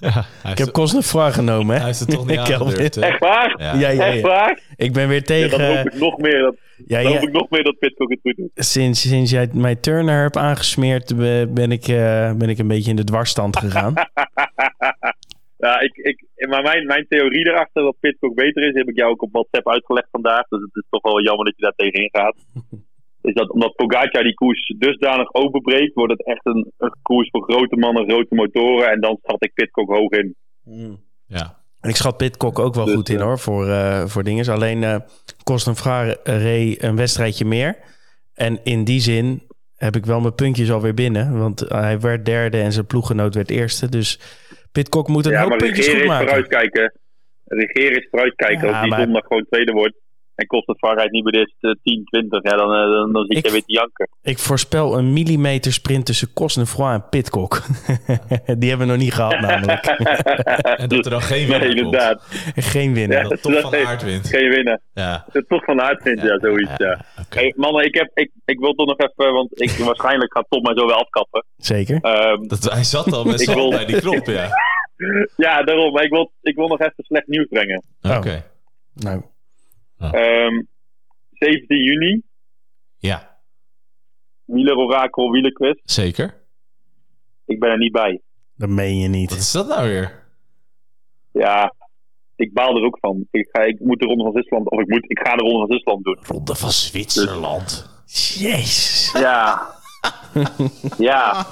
S2: Ja, hij,
S1: Ik
S2: is
S1: heb Cosnefroid genomen,
S2: hij
S1: hè?
S2: is er toch niet
S1: Ik heb
S2: aangedurfd, hè?
S6: Echt waar?
S2: Ja.
S1: Ja, ja,
S6: Echt
S1: ja.
S6: waar?
S1: Ik ben weer
S6: Ja, dan
S1: tegen... eh,
S6: hoop ik nog meer dat,
S1: ja,
S6: dan
S1: ja,
S6: hoop ik nog meer dat Pitcock het goed doet.
S1: sinds, sinds jij mij Turner hebt aangesmeerd, be- ben ik, eh, ben ik een beetje in de dwarsstand gegaan.
S6: Ja, ik, ik, maar mijn, mijn theorie erachter dat Pitcock beter is, die heb ik jou ook op WhatsApp uitgelegd vandaag. Dus het is toch wel jammer dat je daar tegenin gaat. Is dat omdat Pogacar die koers dusdanig openbreekt, wordt het echt een, een koers voor grote mannen, grote motoren. En dan schat ik Pitcock hoog in.
S2: Ja.
S1: En ik schat Pitcock ook wel
S6: Dus,
S1: goed in
S6: eh,
S1: hoor, voor, eh voor dinges. Alleen eh kost een vraag reed een wedstrijdje meer. En in die zin heb ik wel mijn puntjes alweer binnen. Want hij werd derde en zijn ploeggenoot werd eerste. Dus Pitcock moet een
S6: ja,
S1: hoop
S6: maar
S1: puntjes
S6: regeren
S1: goed
S6: is
S1: maken.
S6: vooruitkijken. Regeren is vooruitkijken.
S1: Ja,
S6: Als die
S1: maar-
S6: zondag gewoon tweede wordt en kost het vaarheid niet bij dit 10, 20, ja, dan, eh, dan, dan zit
S1: Ik-
S6: je weer te janken.
S1: Ik voorspel een millimeter sprint tussen Cosnefroid en Pitcock. die hebben we nog niet gehad namelijk.
S2: En dat er dan geen
S6: nee,
S2: winnaar komt.
S6: inderdaad.
S1: Geen
S6: Ja,
S1: winnaar.
S2: Dat Tom van
S6: Nee.
S2: Aert wint.
S6: Geen winnen.
S2: Ja.
S6: Het toch van hart vindt, ja, zoiets. Ja.
S2: Oké.
S6: Hey, mannen, ik, heb, ik, ik wil toch nog even, want ik, waarschijnlijk gaat Tom mij zo wel afkappen.
S1: Zeker.
S6: Ehm,
S2: Dat, hij zat al met
S6: Ik
S2: z'n
S6: wil-
S2: bij die knop, ja.
S6: ja, daarom. Maar ik wil, ik wil nog even slecht nieuws brengen.
S1: Oh.
S3: Oké.
S1: Nou,
S6: Ehm 17 juni,
S3: Ja,
S6: Wieler Orakel Wielerquiz.
S2: Zeker.
S6: Ik ben er niet bij.
S1: dat meen je
S2: Wat
S1: niet.
S2: is dat nou weer?
S6: Ja, ik baal er ook van. Ik, ga, ik moet de Ronde van Zwitserland, of ik, moet, ik ga de Ronde van Zwitserland doen.
S2: Ronde van Zwitserland.
S1: Jezus.
S6: Ja. ja.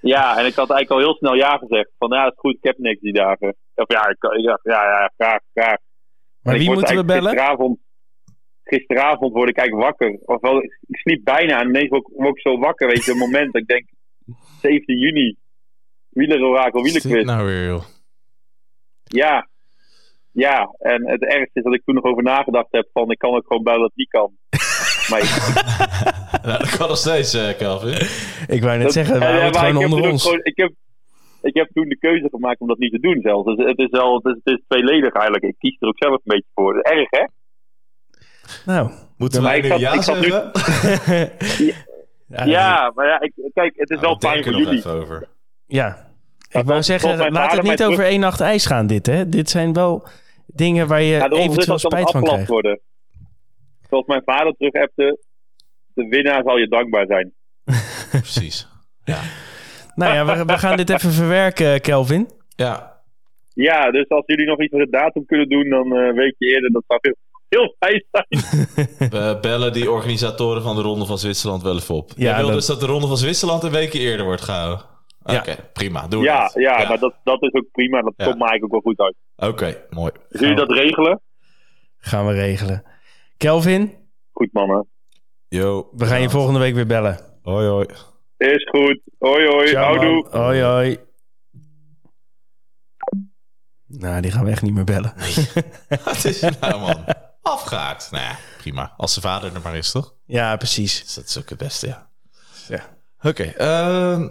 S6: Ja, en ik had eigenlijk al heel snel ja gezegd. Van ja, is goed, ik heb niks die dagen. Of ja, ik, ik dacht, ja, ja, graag, graag.
S1: Maar
S6: En ik
S1: wie
S6: word
S1: moeten we
S6: eigenlijk
S1: bellen?
S6: Gisteravond, gisteravond word ik eigenlijk wakker. Ofwel, ik ik sliep bijna en ineens word ik, word ik zo wakker, weet je. Op het moment dat ik denk, 17 juni, wielerorakel,
S2: Wat is dit
S6: wielerquiz.
S2: nou weer, joh?
S6: Ja. Ja, en het ergste is dat ik toen nog over nagedacht heb van, ik kan ook gewoon bellen dat die kan. maar ik,
S2: Nou, dat kan nog steeds, eh, Kelvin.
S1: Ik wou net
S6: Dat-
S1: zeggen, we
S6: eh,
S1: houden het
S6: maar
S1: gewoon
S6: ik
S1: onder
S6: heb toen ook
S1: ons.
S6: gewoon- ik, heb, ik heb toen de keuze gemaakt om dat niet te doen zelfs. Dus het is wel, het is, het is tweeledig eigenlijk. Ik kies er ook zelf een beetje voor. Dat is Erg, hè?
S1: Nou,
S2: Moeten
S6: Maar
S2: wij
S6: ik
S2: nu
S6: zat-
S2: ja
S6: ik zat nu-
S2: zeggen?
S1: ja.
S6: ja, maar ja, ik, kijk, het
S2: Nou,
S6: is wel
S2: we
S6: fijn
S2: denken
S6: voor
S2: nog
S6: jullie.
S2: even over.
S1: Ja. Ik wou
S6: Dat was- dat was
S1: zeggen,
S6: mijn
S1: laat
S6: vader
S1: het niet
S6: mij
S1: over één nacht ijs gaan dit, hè. Dit zijn wel dingen waar je
S6: Ja, de onrust
S1: eventueel
S6: dat dan
S1: spijt van
S6: afgelast
S1: krijgt.
S6: worden. Zoals mijn vader terug appte, de winnaar zal je dankbaar zijn.
S2: Precies.
S1: Nou ja, we, we gaan dit even verwerken, Kelvin.
S2: Ja.
S6: Ja, dus als jullie nog iets met de datum kunnen doen, dan eh, weet je eerder. Dat zou heel, heel fijn zijn.
S2: We bellen die organisatoren van de Ronde van Zwitserland wel even op.
S1: Ja,
S2: Jij wil
S1: dat-
S2: dus dat de Ronde van Zwitserland een weekje eerder wordt gehouden. Oké,
S1: Ja.
S2: prima. Doe
S6: Ja,
S2: dat.
S6: ja, maar dat, dat is ook prima. Dat
S2: Ja.
S6: komt me eigenlijk ook wel goed uit.
S2: Oké, mooi.
S6: Dus jullie dat regelen?
S1: Gaan we regelen. Kelvin,
S6: Goed, mannen.
S2: Yo.
S1: we gaan je volgende week weer bellen.
S2: Hoi, hoi.
S6: Is goed. Hoi, hoi.
S1: Ciao, man.
S6: Houdoe.
S1: Hoi, hoi. Nou, die gaan we echt niet meer bellen.
S2: Wat is het nou, man? Afgehaakt. Nou ja, prima. Als zijn vader er maar is, toch?
S1: Ja, precies.
S2: Dus dat is ook het beste, ja.
S1: Ja.
S2: Oké, ehm,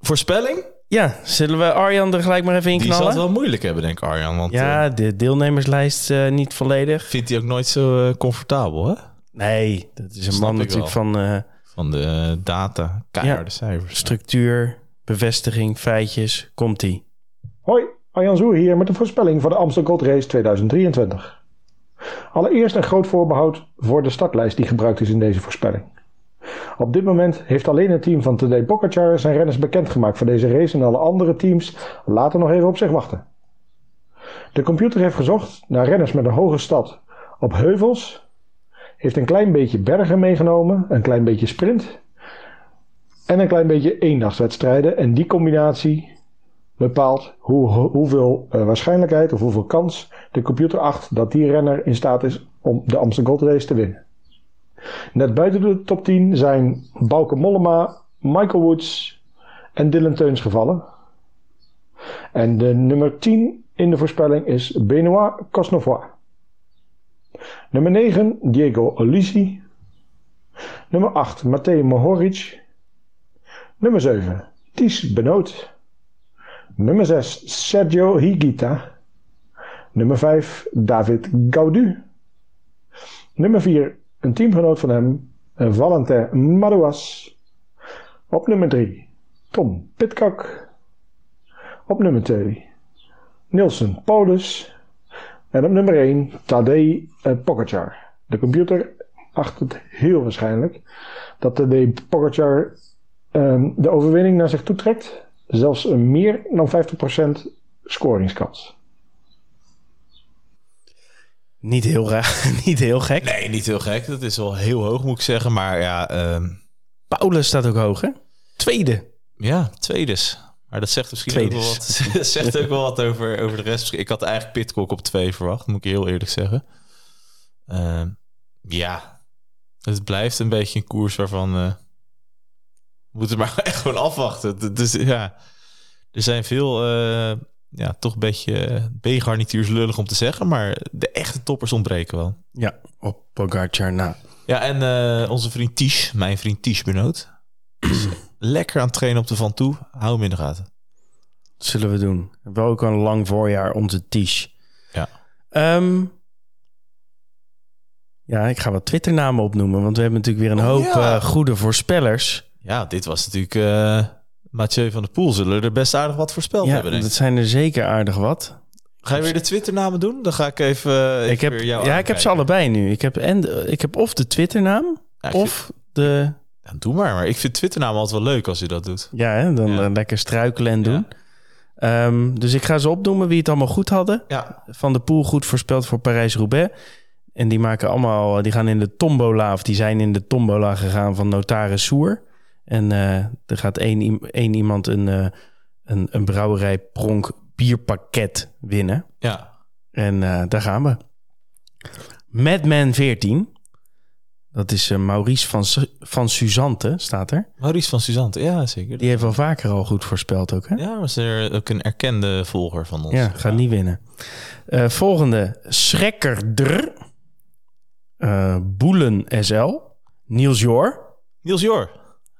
S2: voorspelling?
S1: Ja, zullen we Arjan er gelijk maar even in
S2: Die zal het
S1: knallen?
S2: wel moeilijk hebben, denk ik, Arjan. Want eh,
S1: Ja, de deelnemerslijst eh, niet volledig.
S2: vindt hij ook nooit zo eh, comfortabel, hè?
S1: Nee, dat is een
S2: Snap
S1: man
S2: ik
S1: natuurlijk
S2: wel.
S1: van eh,
S2: Van de data, keiharde cijfers.
S1: structuur, bevestiging, feitjes. Komt-ie.
S7: Hoi, Arjan Zoer hier met de voorspelling voor de Amstel Gold Race 2023. Allereerst een groot voorbehoud voor de startlijst die gebruikt is in deze voorspelling. Op dit moment heeft alleen het team van Tadej Pogacar zijn renners bekendgemaakt voor deze race en alle andere teams laten nog even op zich wachten. De computer heeft gezocht naar renners met een hoge stad op heuvels, heeft een klein beetje bergen meegenomen, een klein beetje sprint en een klein beetje eendachtswedstrijden en die combinatie bepaalt hoe, ho- hoeveel eh, waarschijnlijkheid of hoeveel kans de computer acht dat die renner in staat is om de Amsterdam Gold Race te winnen. Net buiten de top 10 zijn Bauke Mollema, Michael Woods en Dylan Teuns gevallen. En de nummer 10 in de voorspelling is Benoit Cosnefroid. Nummer 9 Diego Olisi. Nummer 8 Matej Mohoric. Nummer 7 Ties Benoot. Nummer 6, Sergio Higuita. Nummer 5, David Gaudu. Nummer 4, een teamgenoot van hem, eh, Valentin Madouas. Op nummer 3, Tom Pitcock. Op nummer 2, Nielsen Paulus. En op nummer 1, Tadej eh, Pogacar. De computer acht het heel waarschijnlijk dat Tadej Pogacar ehm, de overwinning naar zich toe trekt zelfs een meer dan 50% scoringskans.
S1: Niet heel raar, niet heel gek.
S2: Nee, niet heel gek. Dat is wel heel hoog, moet ik zeggen. Maar ja, ehm,
S1: Paulus staat ook hoog, hè? Tweede.
S2: ja tweedes. Maar dat zegt misschien ook wel
S1: Tweedes.
S2: wat, dat zegt ook wel wat over, over de rest. Ik had eigenlijk Pitcock op twee verwacht, moet ik heel eerlijk zeggen. Ehm, ja, het blijft een beetje een koers waarvan... eh, we moeten maar echt gewoon afwachten. D- Dus ja, er zijn veel... eh, ja, toch een beetje B-garnituurs lullig om te zeggen. Maar de echte toppers ontbreken wel.
S1: Ja, op Pogacar na.
S2: Ja, en eh, onze vriend Ties, mijn vriend Ties Benoot. is lekker aan het trainen op de Van Toe. Hou hem in de gaten.
S1: Dat zullen we doen. We hebben ook een lang voorjaar, onze Tiche.
S2: Ja.
S1: Ehm, ja, ik ga wat Twitternamen opnoemen, want we hebben natuurlijk weer een
S2: Oh,
S1: hoop
S2: ja.
S1: eh, goede voorspellers.
S2: Ja, dit was natuurlijk eh, Mathieu van der Poel zullen er best aardig wat voorspeld
S1: Ja,
S2: hebben, denk ik.
S1: dat zijn er zeker aardig wat.
S2: Ga je weer de Twitternamen doen? Dan ga ik even, eh, even
S1: Ik heb,
S2: weer
S1: ja,
S2: jou
S1: ik heb ze
S2: aankijken.
S1: allebei nu. Ik heb, en, de- ik heb of de Twitternaam,
S2: Ja, ik vind-
S1: of de...
S2: Ja, doe maar, maar ik vind Twitternamen altijd wel leuk als je dat doet.
S1: Ja, hè, dan
S2: Ja.
S1: eh, lekker struikelen en
S2: Ja.
S1: doen. Ehm, dus ik ga ze opnoemen wie het allemaal goed hadden.
S2: Ja,
S1: Van de Poel goed voorspeld voor Parijs-Roubaix. En die maken allemaal, die gaan in de tombola, of die zijn in de tombola gegaan van notaris Soer. En eh, er gaat één, iem- één iemand een, eh, een, een brouwerij pronk bierpakket winnen.
S2: ja.
S1: En eh, daar gaan we. Madman 14. Dat is eh, Maurice van, Su- van Suzante, staat er.
S2: Maurice van Suzanne, ja zeker.
S1: Die heeft wel vaker al goed voorspeld ook, hè?
S2: Ja, was er ook een erkende volger van ons.
S1: Ja, gaat niet winnen. Eh, volgende. Schrekkerder. Eh, Boelen SL. Niels Jor.
S2: Niels Jor.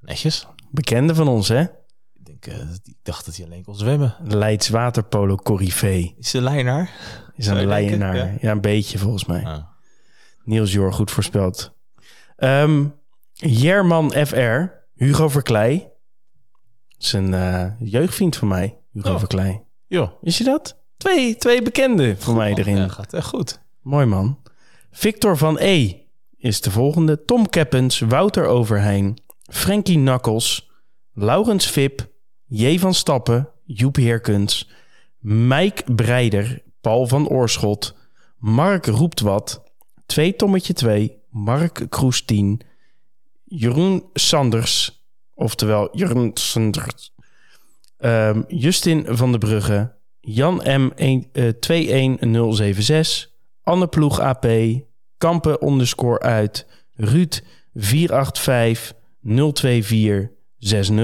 S2: Netjes.
S1: Bekende van ons, hè?
S2: Ik, denk, eh, ik dacht dat hij alleen kon zwemmen.
S1: Leids Waterpolo Corrivee.
S2: Is de lijnaar?
S1: Is
S2: Zou
S1: een
S2: je denken?
S1: leienaar. Ja.
S2: Ja.
S1: een beetje volgens mij.
S2: Ah.
S1: Niels Jor, goed voorspeld. Ehm Jerman FR. Hugo Verkleij. Dat is een eh, jeugdvriend van mij. Hugo
S2: Oh.
S1: Verkleij.
S2: Joh.
S1: Is je dat? Twee, twee bekenden van mij erin.
S2: Ja, gaat echt goed.
S1: Mooi man. Victor van E. is de volgende. Tom Keppens, Wouter Overheijn, Frankie Knuckles, Laurens Vip, J. van Stappen, Joep Heerkens, Mike Breider, Paul van Oorschot, Mark Roept Wat, 2 Tommetje 2, Mark Kroes 10, Jeroen Sanders, oftewel Jeroen Sanders, ehm, Justin van der Brugge, Jan M. 1, eh, 21076, Anne Ploeg AP, Kampen underscore uit, Ruud 485 024 60.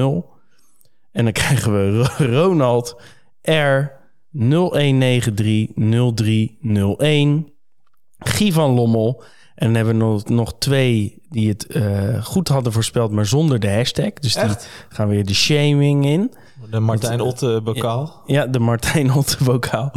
S1: En dan krijgen we Ro- Ronald R 0193 0301, Guy van Lommel. En dan hebben we nog, nog twee die het eh, goed hadden voorspeld, maar zonder de hashtag. Dus die gaan weer de shaming in.
S2: De Martijn Otte bokaal.
S1: Ja, de Martijn Hotte bokaal.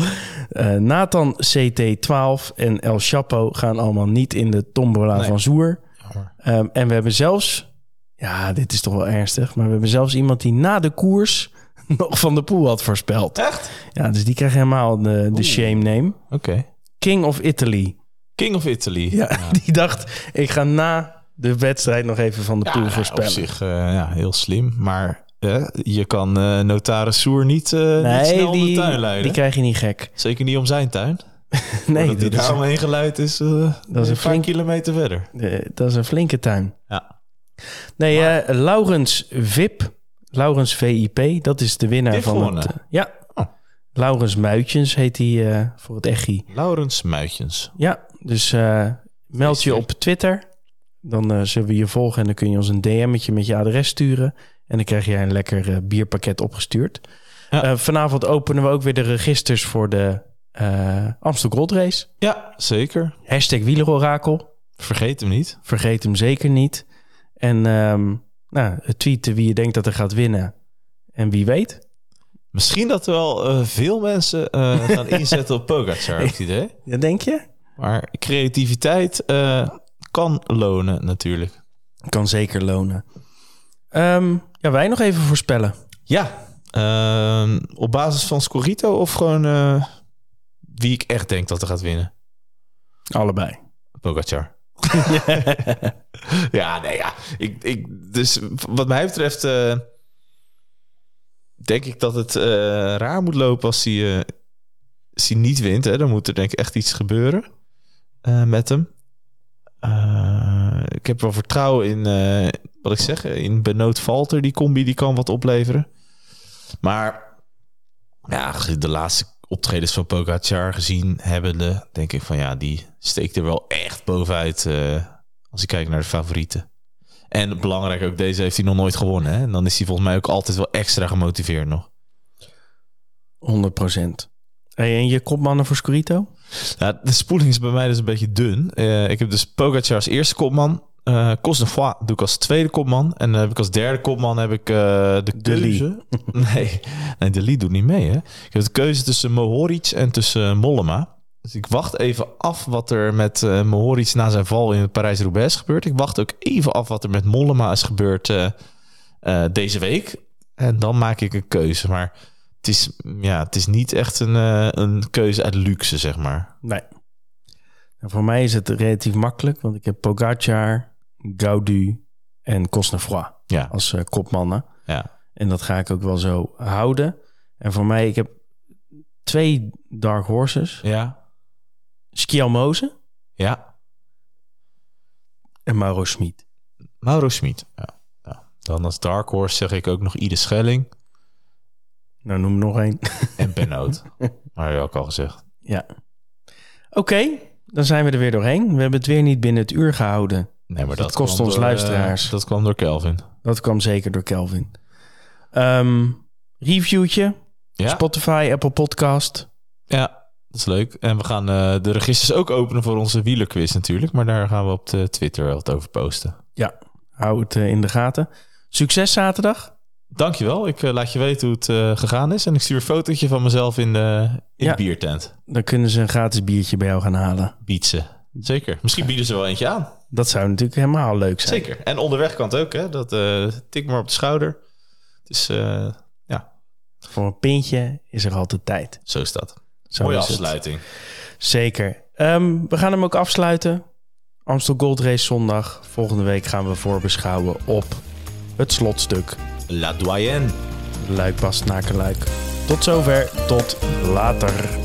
S1: Eh, Nathan CT12 en El Chapo gaan allemaal niet in de tombola
S2: Nee.
S1: van Zoer.
S2: Jammer.
S1: Ehm, en we hebben zelfs... Ja, dit is toch wel ernstig. Maar we hebben zelfs iemand die na de koers nog van de poel had voorspeld.
S2: Echt?
S1: Ja, dus die krijgt helemaal de, de shame name.
S2: Oké.
S1: King of Italy.
S2: King of Italy.
S1: Ja, die dacht, ik ga na de wedstrijd nog even van de
S2: Ja,
S1: poel
S2: nou,
S1: voorspellen.
S2: Op zich eh, ja, heel slim. Maar eh, je kan eh, notaris Soer niet, eh, niet snel om de tuin
S1: die,
S2: leiden.
S1: die krijg je niet gek.
S2: Zeker niet om zijn tuin.
S1: Nee,
S2: dat die
S1: dat is-
S2: daar omheen geluid is, eh,
S1: is een
S2: een paar
S1: flink-
S2: kilometer verder.
S1: Eh, dat is een flinke tuin.
S2: Ja.
S1: Nee, eh, Laurens Vip. Laurens VIP, dat is de winnaar
S2: Dit
S1: van
S2: gewonnen?
S1: het... eh, ja.
S2: Oh.
S1: Laurens Muitjens heet hij eh, voor het echi.
S2: Laurens Muitjens.
S1: Ja, dus eh, meld je op Twitter. Dan eh, zullen we je volgen en dan kun je ons een DM'tje met je adres sturen. En dan krijg jij een lekker eh, bierpakket opgestuurd.
S2: Ja.
S1: Eh, vanavond openen we ook weer de registers voor de eh Amstel Gold Race.
S2: Ja, zeker.
S1: Hashtag wielerorakel.
S2: Vergeet hem niet.
S1: Vergeet hem zeker niet. En ehm nou, tweeten wie je denkt dat er gaat winnen. En wie weet.
S2: Misschien dat er wel eh, veel mensen eh, gaan inzetten op Pogacar, heb ik het idee.
S1: Ja, denk je?
S2: Maar creativiteit eh, kan lonen natuurlijk.
S1: Kan zeker lonen. Ehm, ja, wij nog even voorspellen.
S2: Ja. ehm, op basis van Scorito of gewoon eh, wie ik echt denk dat er gaat winnen?
S1: Allebei.
S2: Pogacar. ja, nee, ja. Ik, ik, dus wat mij betreft... eh, denk ik dat het eh, raar moet lopen als hij, eh, als hij niet wint. Hè? Dan moet er denk ik echt iets gebeuren eh, met hem. Eh, ik heb wel vertrouwen in, eh, wat ik zeg, in Benoot Valter. Die combi die kan wat opleveren. Maar ja, de laatste optredens van Pogacar gezien hebbende... denk ik van ja, die steekt er wel echt bovenuit eh, als ik kijk naar de favorieten. En belangrijk ook, deze heeft hij nog nooit gewonnen. Hè? En dan is hij volgens mij ook altijd wel extra gemotiveerd nog.
S1: 100 procent. Hey, en je kopmannen voor Scorito?
S2: Ja, de spoeling is bij mij dus een beetje dun. Eh, ik heb dus Pogacar als eerste kopman. eh Cosnefroid doe ik als tweede kopman. En dan heb ik als derde kopman heb ik eh, de
S1: De Lee.
S2: keuze. nee, nee, de Lee doet niet mee. Hè? Ik heb de keuze tussen Mohoric en tussen eh, Mollema. Dus ik wacht even af wat er met eh Mohoric na zijn val in het Parijs-Roubaix is gebeurd. Ik wacht ook even af wat er met Mollema is gebeurd eh, eh, deze week. Hij En dan maak ik een keuze. Maar het is, ja, het is niet echt een, eh, een keuze uit luxe, zeg maar.
S1: Nee. En Nou, voor mij is het relatief makkelijk, want ik heb Pogacar, Gaudu en Cosnefroid
S2: Ja.
S1: als eh, kopmannen.
S2: Ja.
S1: En dat ga ik ook wel zo houden. En voor mij, ik heb twee dark horses.
S2: Ja.
S1: Schialmoze
S2: Ja.
S1: en Mauro Schmid.
S2: Mauro Schmid. Ja. Ja. Dan als Dark Horse zeg ik ook nog Ide Schelling
S1: Nou, noem nog één.
S2: en Benoot. maar dat heb ik al gezegd.
S1: ja. Oké, dan zijn we er weer doorheen. We hebben het weer niet binnen het uur gehouden.
S2: Nee, maar
S1: Dat
S2: dat,
S1: kost
S2: kwam
S1: ons
S2: door, eh,
S1: luisteraars.
S2: dat kwam door Kelvin.
S1: Dat kwam zeker door Kelvin. Ehm reviewtje,
S2: Ja.
S1: Spotify, Apple Podcast.
S2: Ja, dat is leuk. En we gaan eh, de registers ook openen voor onze wielerquiz natuurlijk. Maar daar gaan we op de Twitter wat over posten.
S1: Ja, hou het eh, in de gaten. Succes zaterdag.
S2: Dankjewel. Ik eh, laat je weten hoe het eh, gegaan is. En ik stuur een fotootje van mezelf in de, in
S1: Ja.
S2: de biertent.
S1: Dan kunnen ze een gratis biertje bij jou gaan halen.
S2: Bietsen. Zeker. Misschien bieden ze wel eentje aan.
S1: Dat zou natuurlijk helemaal leuk zijn.
S2: Zeker. En onderweg kan het ook. Hè? Dat, eh, tik maar op de schouder. Dus eh,
S1: Voor een pintje is er altijd tijd.
S2: zo is dat.
S1: Zo
S2: Mooie
S1: is het.
S2: afsluiting.
S1: Zeker. Ehm, we gaan hem ook afsluiten. Amstel Gold Race zondag. Volgende week gaan we voorbeschouwen op het slotstuk.
S2: La Doyenne.
S1: Luik, Bast, Nakenluik. Tot zover. Tot later.